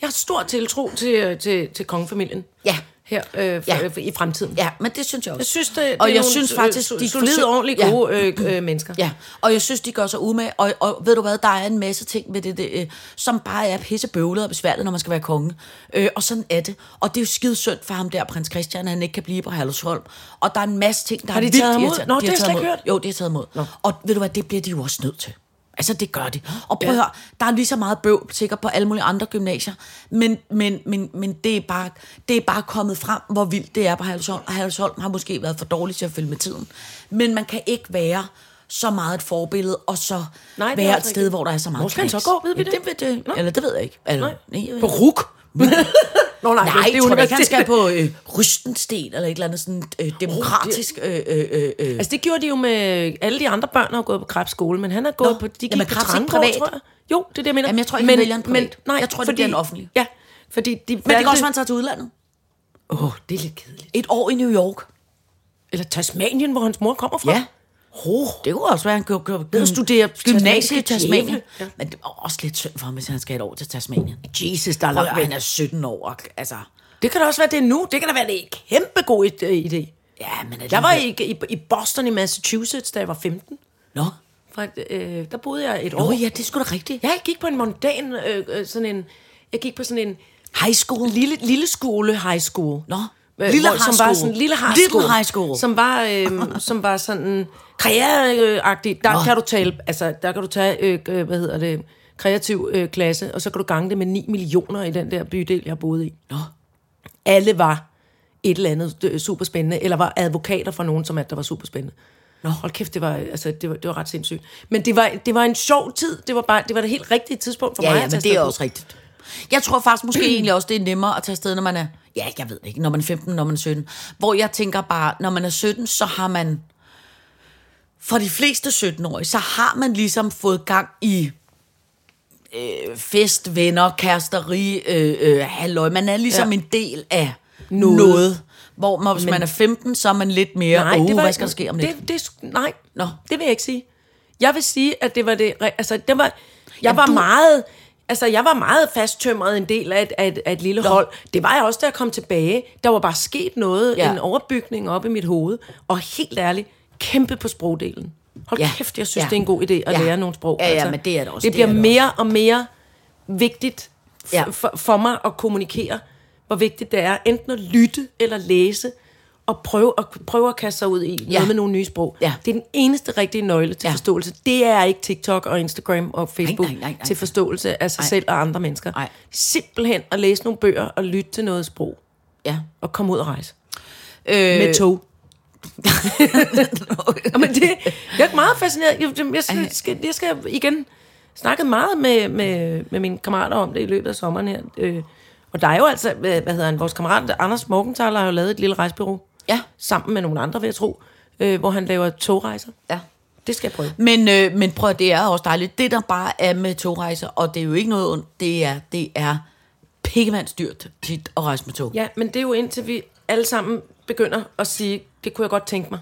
[SPEAKER 3] jeg har stor tiltro til, øh, til, til kongefamilien.
[SPEAKER 4] Ja.
[SPEAKER 3] her øh, for,
[SPEAKER 4] Ja.
[SPEAKER 3] ja. i fremtiden.
[SPEAKER 4] Ja, men det synes jeg også.
[SPEAKER 3] Jeg synes, det, det
[SPEAKER 4] og
[SPEAKER 3] er
[SPEAKER 4] jeg
[SPEAKER 3] nogle,
[SPEAKER 4] synes faktisk,
[SPEAKER 3] øh,
[SPEAKER 4] de
[SPEAKER 3] solide,
[SPEAKER 4] forsøg-
[SPEAKER 3] ordentligt
[SPEAKER 4] Ja.
[SPEAKER 3] gode øh, øh, mennesker.
[SPEAKER 4] Ja, og jeg synes, de gør sig umage. Og, og ved du hvad, der er en masse ting ved det, det øh, som bare er pissebøvlet og besværligt, når man skal være konge. Øh, og sådan er det. Og det er jo skide synd for ham der, prins Christian, at han ikke kan blive på Herlufsholm. Og der er en masse ting, der
[SPEAKER 3] Har de
[SPEAKER 4] er
[SPEAKER 3] taget ham ud? Nå,
[SPEAKER 4] irriterende. De
[SPEAKER 3] det har jeg
[SPEAKER 4] taget
[SPEAKER 3] slet
[SPEAKER 4] ham
[SPEAKER 3] ikke
[SPEAKER 4] ud.
[SPEAKER 3] hørt.
[SPEAKER 4] Jo, det er taget imod. Og ved du hvad, det bliver de jo også nødt til. Altså, det gør de. Og prøv at høre, der er lige så meget bøv, sikkert på alle mulige andre gymnasier, men, men, men, men det, er bare, det er bare kommet frem, hvor vildt det er på Halsholm, og Halsholm har måske været for dårlig til at følge med tiden. Men man kan ikke være så meget et forbillede, og så
[SPEAKER 3] Nej,
[SPEAKER 4] Nej,
[SPEAKER 3] det er
[SPEAKER 4] være et
[SPEAKER 3] også
[SPEAKER 4] sted,
[SPEAKER 3] rigtigt.
[SPEAKER 4] hvor der er så meget
[SPEAKER 3] Hvor skal han så
[SPEAKER 4] knæks.
[SPEAKER 3] gå, ved vi
[SPEAKER 4] Ja,
[SPEAKER 3] det?
[SPEAKER 4] det, ved det. Eller det ved jeg ikke. Eller, nej,
[SPEAKER 3] På RUK. Nå nej, *laughs*
[SPEAKER 4] Nej,
[SPEAKER 3] det er
[SPEAKER 4] jeg tror da ikke, han
[SPEAKER 3] universitetet.
[SPEAKER 4] skal på *laughs* øh, Rystensten, eller et eller andet sådan øh, demokratisk... Øh, øh, øh, øh.
[SPEAKER 3] Altså det gjorde de jo med alle de andre børn har jo gået på Krebs skole, men han har gået
[SPEAKER 4] Nå,
[SPEAKER 3] på de gik
[SPEAKER 4] jamen,
[SPEAKER 3] på
[SPEAKER 4] Krebs er
[SPEAKER 3] Tranborg,
[SPEAKER 4] privat.
[SPEAKER 3] tror jeg. Jo, det er det jeg mener.
[SPEAKER 4] Jamen, jeg tror ikke, han vælger en privat.
[SPEAKER 3] nej,
[SPEAKER 4] Jeg tror, det
[SPEAKER 3] fordi,
[SPEAKER 4] bliver en offentlig.
[SPEAKER 3] Ja, fordi de
[SPEAKER 4] Men det kan også være, han tager til udlandet.
[SPEAKER 3] Åh, oh, det er lidt kedeligt.
[SPEAKER 4] Et år i New York.
[SPEAKER 3] Eller Tasmanien, hvor hans mor kommer fra.
[SPEAKER 4] Ja. Oh. Det kunne også være, at han kunne, kunne, kunne
[SPEAKER 3] studere
[SPEAKER 4] gymnasiet i
[SPEAKER 3] Tasmanien.
[SPEAKER 4] Tasmanien.
[SPEAKER 3] Ja.
[SPEAKER 4] Ja. Men det er også lidt synd for ham, hvis han skal et år til Tasmanien.
[SPEAKER 3] Jesus, der er
[SPEAKER 4] Prøv,
[SPEAKER 3] langt
[SPEAKER 4] at
[SPEAKER 3] væk.
[SPEAKER 4] han er 17 år. Og, altså,
[SPEAKER 3] Det kan da også være, det er nu. Det kan da være, det er en kæmpe god id- øh, idé.
[SPEAKER 4] ja, men alligevel.
[SPEAKER 3] Jeg var i, i, i Boston i Massachusetts, da jeg var 15.
[SPEAKER 4] Nå,
[SPEAKER 3] For, øh, der boede jeg et
[SPEAKER 4] Nå
[SPEAKER 3] år.
[SPEAKER 4] ja, det er sgu da rigtigt.
[SPEAKER 3] Jeg gik på en mondan, øh, øh, sådan en, jeg gik på sådan en
[SPEAKER 4] High school.
[SPEAKER 3] lille, lille skole high school.
[SPEAKER 4] Nå.
[SPEAKER 3] Øh,
[SPEAKER 4] Lille
[SPEAKER 3] hvor- som
[SPEAKER 4] high
[SPEAKER 3] var
[SPEAKER 4] school.
[SPEAKER 3] sådan, lille high
[SPEAKER 4] Little
[SPEAKER 3] school,
[SPEAKER 4] high school.
[SPEAKER 3] Som var, øh, som var sådan karriereagtig. Der
[SPEAKER 4] Nå.
[SPEAKER 3] kan du tale, altså, der kan du tage, øh, øh, hvad hedder det, kreativ øh, klasse, og så kan du gange det med 9 millioner i den der bydel, jeg boede i.
[SPEAKER 4] Nå.
[SPEAKER 3] Alle var et eller andet øh, superspændende, eller var advokater for nogen, som at der var superspændende. Nå, hold kæft, det var, altså, det var, det var ret sindssygt. Men det var, det var en sjov tid. Det var, bare, det var det helt rigtige tidspunkt for
[SPEAKER 4] Ja,
[SPEAKER 3] mig
[SPEAKER 4] ja,
[SPEAKER 3] at
[SPEAKER 4] men
[SPEAKER 3] tage
[SPEAKER 4] det er
[SPEAKER 3] afsted på.
[SPEAKER 4] også rigtigt. Jeg tror faktisk måske *clears throat* egentlig også, det er nemmere at tage afsted, når man er... Ja, jeg ved det ikke, når man er 15, når man er 17. Hvor jeg tænker bare, når man er 17, så har man... For de fleste 17-årige, så har man ligesom fået gang i øh, fest, venner, kæresteri, øh, øh, halløj. Man er ligesom ja. en del af noget. noget. Hvor man, hvis Men, man er 15, så er man lidt mere... Nej, oh, hvad skal der ske om lidt?
[SPEAKER 3] det, det, sk- Nej,
[SPEAKER 4] Nå.
[SPEAKER 3] det vil jeg ikke sige. Jeg vil sige, at det var det... re- Altså, det var, jeg
[SPEAKER 4] Jamen,
[SPEAKER 3] var
[SPEAKER 4] du-
[SPEAKER 3] meget... Altså, jeg var meget fasttømret en del af et, af et, af et lille Nå. hold. Det var jeg også, da jeg kom tilbage. Der var bare sket noget, ja.
[SPEAKER 4] Ja.
[SPEAKER 3] en overbygning op i mit hoved. Og helt ærligt, kæmpe på sprogdelen. Hold ja.
[SPEAKER 4] Ja.
[SPEAKER 3] kæft, jeg synes, ja.
[SPEAKER 4] Ja.
[SPEAKER 3] det er en god idé at ja.
[SPEAKER 4] Ja.
[SPEAKER 3] lære nogle sprog. Altså,
[SPEAKER 4] Ja, ja, men det er det også,
[SPEAKER 3] Det
[SPEAKER 4] det er
[SPEAKER 3] bliver
[SPEAKER 4] det
[SPEAKER 3] mere og mere vigtigt f- ja.
[SPEAKER 4] Ja.
[SPEAKER 3] for, for mig at kommunikere, hvor vigtigt det er enten at lytte eller læse, og prøve at, prøve at kaste sig ud i ja.
[SPEAKER 4] Ja.
[SPEAKER 3] noget med nogle nye sprog.
[SPEAKER 4] Ja.
[SPEAKER 3] Det er den eneste rigtige nøgle til ja.
[SPEAKER 4] Ja.
[SPEAKER 3] forståelse. Det er ikke TikTok og Instagram og Facebook
[SPEAKER 4] nej, nej, nej.
[SPEAKER 3] til forståelse af sig
[SPEAKER 4] Nej.
[SPEAKER 3] selv og andre mennesker.
[SPEAKER 4] Nej.
[SPEAKER 3] Simpelthen at læse nogle bøger og lytte til noget sprog
[SPEAKER 4] Ja.
[SPEAKER 3] og komme ud og rejse.
[SPEAKER 4] Øh,
[SPEAKER 3] Med *laughs* tog. Men det, jeg er meget fascineret. Jeg, jeg, skal, skal, jeg skal igen snakket meget med, med, med mine kammerater om det i løbet af sommeren her. Øh, og der er jo altså, hvad, hvad hedder han, vores kammerat Anders Morgenthaler har jo lavet et lille rejsbyrå.
[SPEAKER 4] Ja.
[SPEAKER 3] Sammen med nogle andre, vil jeg tro. Øh, hvor han laver togrejser.
[SPEAKER 4] ja.
[SPEAKER 3] Det skal jeg prøve.
[SPEAKER 4] Men, øh, men prøv at det er også dejligt. Det, der bare er med togrejser, og det er jo ikke noget ondt, det er, det er pikkemandsdyrt tit at rejse med tog.
[SPEAKER 3] Ja, men det er jo indtil vi alle sammen begynder at sige, det kunne jeg godt tænke mig.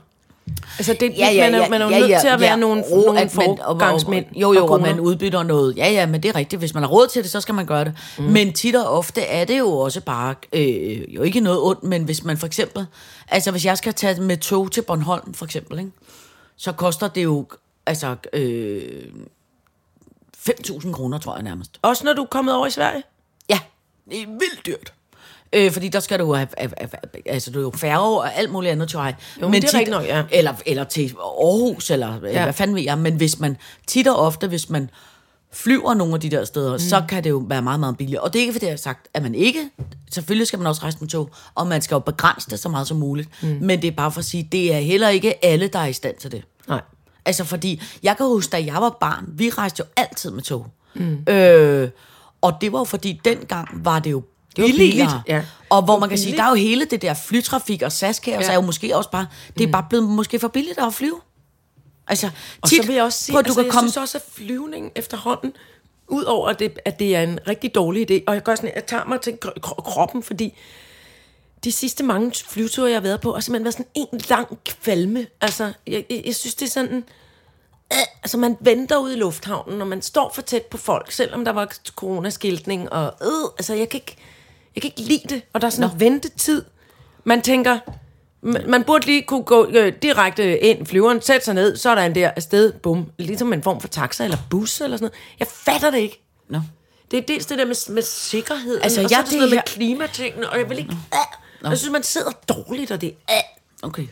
[SPEAKER 3] Altså, det, ja, ja, man, er, man er jo ja, ja, nødt til at være ja, nogle,
[SPEAKER 4] Og
[SPEAKER 3] nogle
[SPEAKER 4] at man- og- og-
[SPEAKER 3] forgangsmænd.
[SPEAKER 4] Jo, jo,
[SPEAKER 3] og
[SPEAKER 4] og,
[SPEAKER 3] koner.
[SPEAKER 4] man udbytter noget. Ja, ja, men det er rigtigt. Hvis man har råd til det, så skal man gøre det. Mm. Men tit og ofte er det jo også bare, øh, jo ikke noget ondt, men hvis man for eksempel, altså hvis jeg skal tage med tog til Bornholm for eksempel, ikke, så koster det jo, altså, øh, 5.000 kroner, tror jeg nærmest.
[SPEAKER 3] Også når du er kommet over i Sverige?
[SPEAKER 4] Ja, det er vildt dyrt. Øh, fordi der skal du jo have, have, have, have altså, du er jo færge og alt muligt andet, tror jeg.
[SPEAKER 3] men det er rigtigt nok, ja.
[SPEAKER 4] Eller, eller til Aarhus, eller ja. hvad fanden ved jeg. Men hvis man tit og ofte, hvis man flyver nogle af de der steder, mm. så kan det jo være meget, meget billigere. Og det er ikke, fordi jeg har sagt, at man ikke... Selvfølgelig skal man også rejse med tog, og man skal jo begrænse det så meget som muligt. Mm. Men det er bare for at sige, det er heller ikke alle, der er i stand til det.
[SPEAKER 3] Nej.
[SPEAKER 4] Altså fordi, jeg kan huske, da jeg var barn, vi rejste jo altid med tog. Mm. Øh, og det var jo fordi, dengang var det jo
[SPEAKER 3] var
[SPEAKER 4] billigere.
[SPEAKER 3] billigt, ja.
[SPEAKER 4] Og hvor man kan sige,
[SPEAKER 3] billigt.
[SPEAKER 4] der er jo hele det der flytrafik og SAS kan ja. er jo måske også bare, det er bare blevet måske for billigt at flyve. Altså,
[SPEAKER 3] Mm. Og
[SPEAKER 4] tit,
[SPEAKER 3] så vil jeg også sige,
[SPEAKER 4] prøv, at
[SPEAKER 3] du altså,
[SPEAKER 4] du
[SPEAKER 3] kan jeg komme... synes også, at flyvningen efterhånden, udover at det, at det er en rigtig dårlig idé, og jeg, gør sådan, jeg tager mig til kro- kro- kroppen, fordi de sidste mange flyture, jeg har været på, har simpelthen været sådan en lang kvalme. Altså, jeg, jeg, jeg synes, det er sådan... Øh, altså, man venter ude i lufthavnen, og man står for tæt på folk, selvom der var coronaskiltning, og øh, altså, jeg kan ikke, jeg kan ikke lide det. Og der er sådan en ventetid, Man tænker, man, man burde lige kunne gå øh, direkte ind, flyveren, sætte sig ned, så er der en der afsted, bum. Ligesom en form for taxa eller bus eller sådan noget. Jeg fatter det ikke.
[SPEAKER 4] Nå.
[SPEAKER 3] Det er dels det der med, med sikkerheden,
[SPEAKER 4] Altså,
[SPEAKER 3] altså, og
[SPEAKER 4] jeg-
[SPEAKER 3] så er det sådan
[SPEAKER 4] det
[SPEAKER 3] noget med
[SPEAKER 4] her-
[SPEAKER 3] klimatingene, og jeg vil ikke... Nå. Jeg synes, man sidder dårligt, og det er...
[SPEAKER 4] Okay.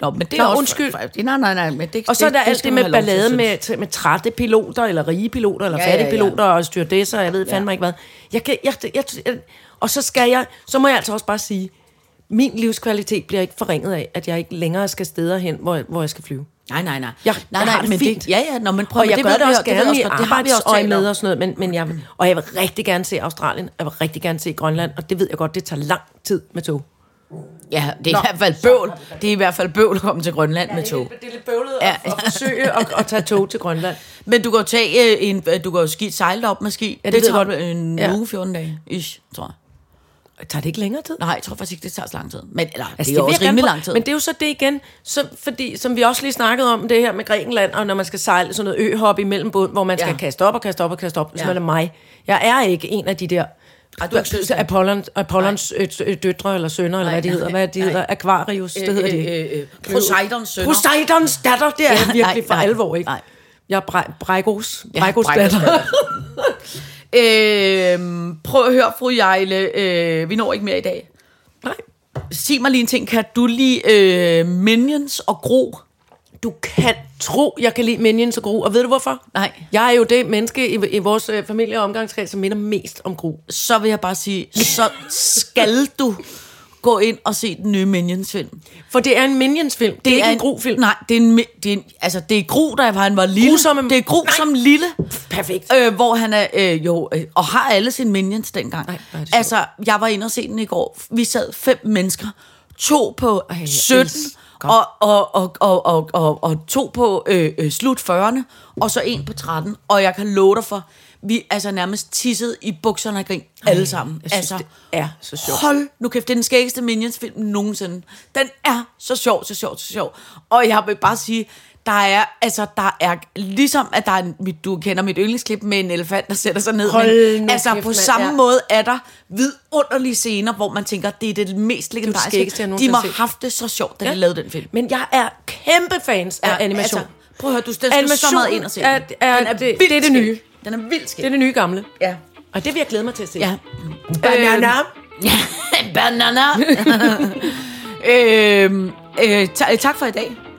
[SPEAKER 4] Nå, men det er
[SPEAKER 3] Nå,
[SPEAKER 4] også...
[SPEAKER 3] undskyld.
[SPEAKER 4] Nej, nej, nej. Men det,
[SPEAKER 3] Og så er der alt
[SPEAKER 4] skal
[SPEAKER 3] det
[SPEAKER 4] man
[SPEAKER 3] med
[SPEAKER 4] have lov til,
[SPEAKER 3] ballade
[SPEAKER 4] synes jeg.
[SPEAKER 3] med, med trætte piloter, eller rige piloter, eller
[SPEAKER 4] Ja,
[SPEAKER 3] ja,
[SPEAKER 4] ja, ja.
[SPEAKER 3] fattige piloter, og styrdesser, jeg ved fandme ikke hvad. Jeg kan, jeg, jeg, jeg, og så skal jeg, så må jeg altså også bare sige, min livskvalitet bliver ikke forringet af, at jeg ikke længere skal steder hen, hvor, hvor jeg skal flyve.
[SPEAKER 4] Nej, nej, nej.
[SPEAKER 3] Jeg,
[SPEAKER 4] nej,
[SPEAKER 3] jeg
[SPEAKER 4] nej,
[SPEAKER 3] har det
[SPEAKER 4] men
[SPEAKER 3] fint.
[SPEAKER 4] Det, ja, ja, nå, men prøv
[SPEAKER 3] og
[SPEAKER 4] men
[SPEAKER 3] jeg
[SPEAKER 4] det
[SPEAKER 3] gør
[SPEAKER 4] ved
[SPEAKER 3] det
[SPEAKER 4] vi
[SPEAKER 3] også
[SPEAKER 4] det ved
[SPEAKER 3] gerne
[SPEAKER 4] vi
[SPEAKER 3] i
[SPEAKER 4] også godt. Det har vi også talt
[SPEAKER 3] arbejdsøjemed
[SPEAKER 4] om.
[SPEAKER 3] og sådan noget, men, men jeg, og jeg vil rigtig gerne se Australien, og jeg vil rigtig gerne se Grønland, og det ved jeg godt, det tager lang tid med tog.
[SPEAKER 4] Ja, det er i hvert fald bøvl. Det er i hvert fald bøvl at komme til Grønland med tog.
[SPEAKER 3] Det er lidt bøvlet
[SPEAKER 4] Ja.
[SPEAKER 3] at, at forsøge at, *laughs* at tage tog til Grønland.
[SPEAKER 4] Men du kan jo tage øh, en, øh, du kan jo ski, sejle op med ski. Ja,
[SPEAKER 3] det ved jeg
[SPEAKER 4] tager
[SPEAKER 3] godt.
[SPEAKER 4] en
[SPEAKER 3] Ja.
[SPEAKER 4] uge, 14 dage, ish, tror jeg.
[SPEAKER 3] Tager det ikke længere tid?
[SPEAKER 4] Nej, jeg tror faktisk ikke, det tager så lang tid. Men eller, altså,
[SPEAKER 3] Altså,
[SPEAKER 4] det er jo
[SPEAKER 3] vil
[SPEAKER 4] også
[SPEAKER 3] jeg gerne
[SPEAKER 4] rimelig
[SPEAKER 3] prøve.
[SPEAKER 4] lang tid.
[SPEAKER 3] Men det er jo så det igen, så, fordi, som vi også lige snakkede om, det her med Grækenland, og når man skal sejle sådan noget øhop imellem bund, hvor man skal
[SPEAKER 4] Ja.
[SPEAKER 3] ja. kaste op og kaste op og kaste op, hvis
[SPEAKER 4] Ja.
[SPEAKER 3] man er mig. Jeg er ikke en af de der
[SPEAKER 4] Ej, du er ikke søster.
[SPEAKER 3] Apollons, Apollons øh, øh, døtre eller sønner, eller
[SPEAKER 4] Nej,
[SPEAKER 3] hvad de
[SPEAKER 4] nej,
[SPEAKER 3] hedder. Hvad de
[SPEAKER 4] nej.
[SPEAKER 3] hedder? Aquarius, det hedder de.
[SPEAKER 4] Øh, øh, øh, Poseidons sønner.
[SPEAKER 3] Poseidons datter, det er jeg virkelig
[SPEAKER 4] nej,
[SPEAKER 3] for
[SPEAKER 4] nej,
[SPEAKER 3] alvor, ikke?
[SPEAKER 4] nej.
[SPEAKER 3] Jeg er Bre- Breikos,
[SPEAKER 4] Ja,
[SPEAKER 3] Breikos
[SPEAKER 4] Breikos
[SPEAKER 3] datter.
[SPEAKER 4] Øh, prøv at høre, fru Jejle. Øh, vi når ikke mere i dag.
[SPEAKER 3] Nej, *laughs*
[SPEAKER 4] Sig mig lige en ting. Kan du lide øh, Minions og Gro?
[SPEAKER 3] du kan tro, jeg kan lide Minions og Gru. Og ved du hvorfor?
[SPEAKER 4] Nej.
[SPEAKER 3] Jeg er jo det menneske i, i vores øh, familie og omgangskreds, som minder mest om Gru.
[SPEAKER 4] Så vil jeg bare sige, så skal du gå ind og se den nye Minions-film.
[SPEAKER 3] For det er en Minions-film. Det, det er ikke en Gru-film.
[SPEAKER 4] Nej, det er, en, mi- det er en, altså, det er Gro, der han var lille.
[SPEAKER 3] Gru som-
[SPEAKER 4] det er Gro
[SPEAKER 3] Nej.
[SPEAKER 4] som lille.
[SPEAKER 3] Perfekt.
[SPEAKER 4] Øh, hvor han er, øh, jo, øh, og har alle sine minions dengang.
[SPEAKER 3] Nej, hvor er det sjovt.
[SPEAKER 4] altså, jeg var inde og se den i går. Vi sad fem mennesker. To på Ej,
[SPEAKER 3] jeg
[SPEAKER 4] 17,
[SPEAKER 3] elsker.
[SPEAKER 4] og, og, og, og, og, og, og to på øh, øh, slut 40'erne, og så en på 13. Og jeg kan love dig for, vi altså nærmest tissede i bukserne af grin, alle sammen.
[SPEAKER 3] jeg synes,
[SPEAKER 4] altså,
[SPEAKER 3] det er så sjovt.
[SPEAKER 4] Hold nu kæft, det er den skæggeste Minions-film nogensinde. Den er så sjov, så sjov, så sjov. Og jeg vil bare sige, der er, altså, der er, ligesom at der er, en, mit- du kender mit yndlingsklip med en elefant, der sætter sig ned.
[SPEAKER 3] Hold nu
[SPEAKER 4] altså,
[SPEAKER 3] kæft,
[SPEAKER 4] på
[SPEAKER 3] mand,
[SPEAKER 4] samme
[SPEAKER 3] ja.
[SPEAKER 4] måde er der vidunderlige scener, hvor man tænker, det er det mest
[SPEAKER 3] skæggeste,
[SPEAKER 4] legendariske.
[SPEAKER 3] jeg
[SPEAKER 4] De
[SPEAKER 3] nogensinde
[SPEAKER 4] må
[SPEAKER 3] har
[SPEAKER 4] have
[SPEAKER 3] set.
[SPEAKER 4] haft det så sjovt, da ja. de lavede den film.
[SPEAKER 3] Men jeg er kæmpe fans af animation.
[SPEAKER 4] Altså, prøv at høre, du den skal så
[SPEAKER 3] Animation
[SPEAKER 4] meget ind og se. den.
[SPEAKER 3] er- er-
[SPEAKER 4] den er
[SPEAKER 3] det-
[SPEAKER 4] vildt
[SPEAKER 3] det er det
[SPEAKER 4] skæg.
[SPEAKER 3] nye.
[SPEAKER 4] Den er vildt skæg.
[SPEAKER 3] Det er det nye gamle.
[SPEAKER 4] Ja.
[SPEAKER 3] Og det vil jeg glæde mig til at se.
[SPEAKER 4] Ja.
[SPEAKER 3] Banana.
[SPEAKER 4] *laughs* Banana. øhm, øh, ta- tak for i dag.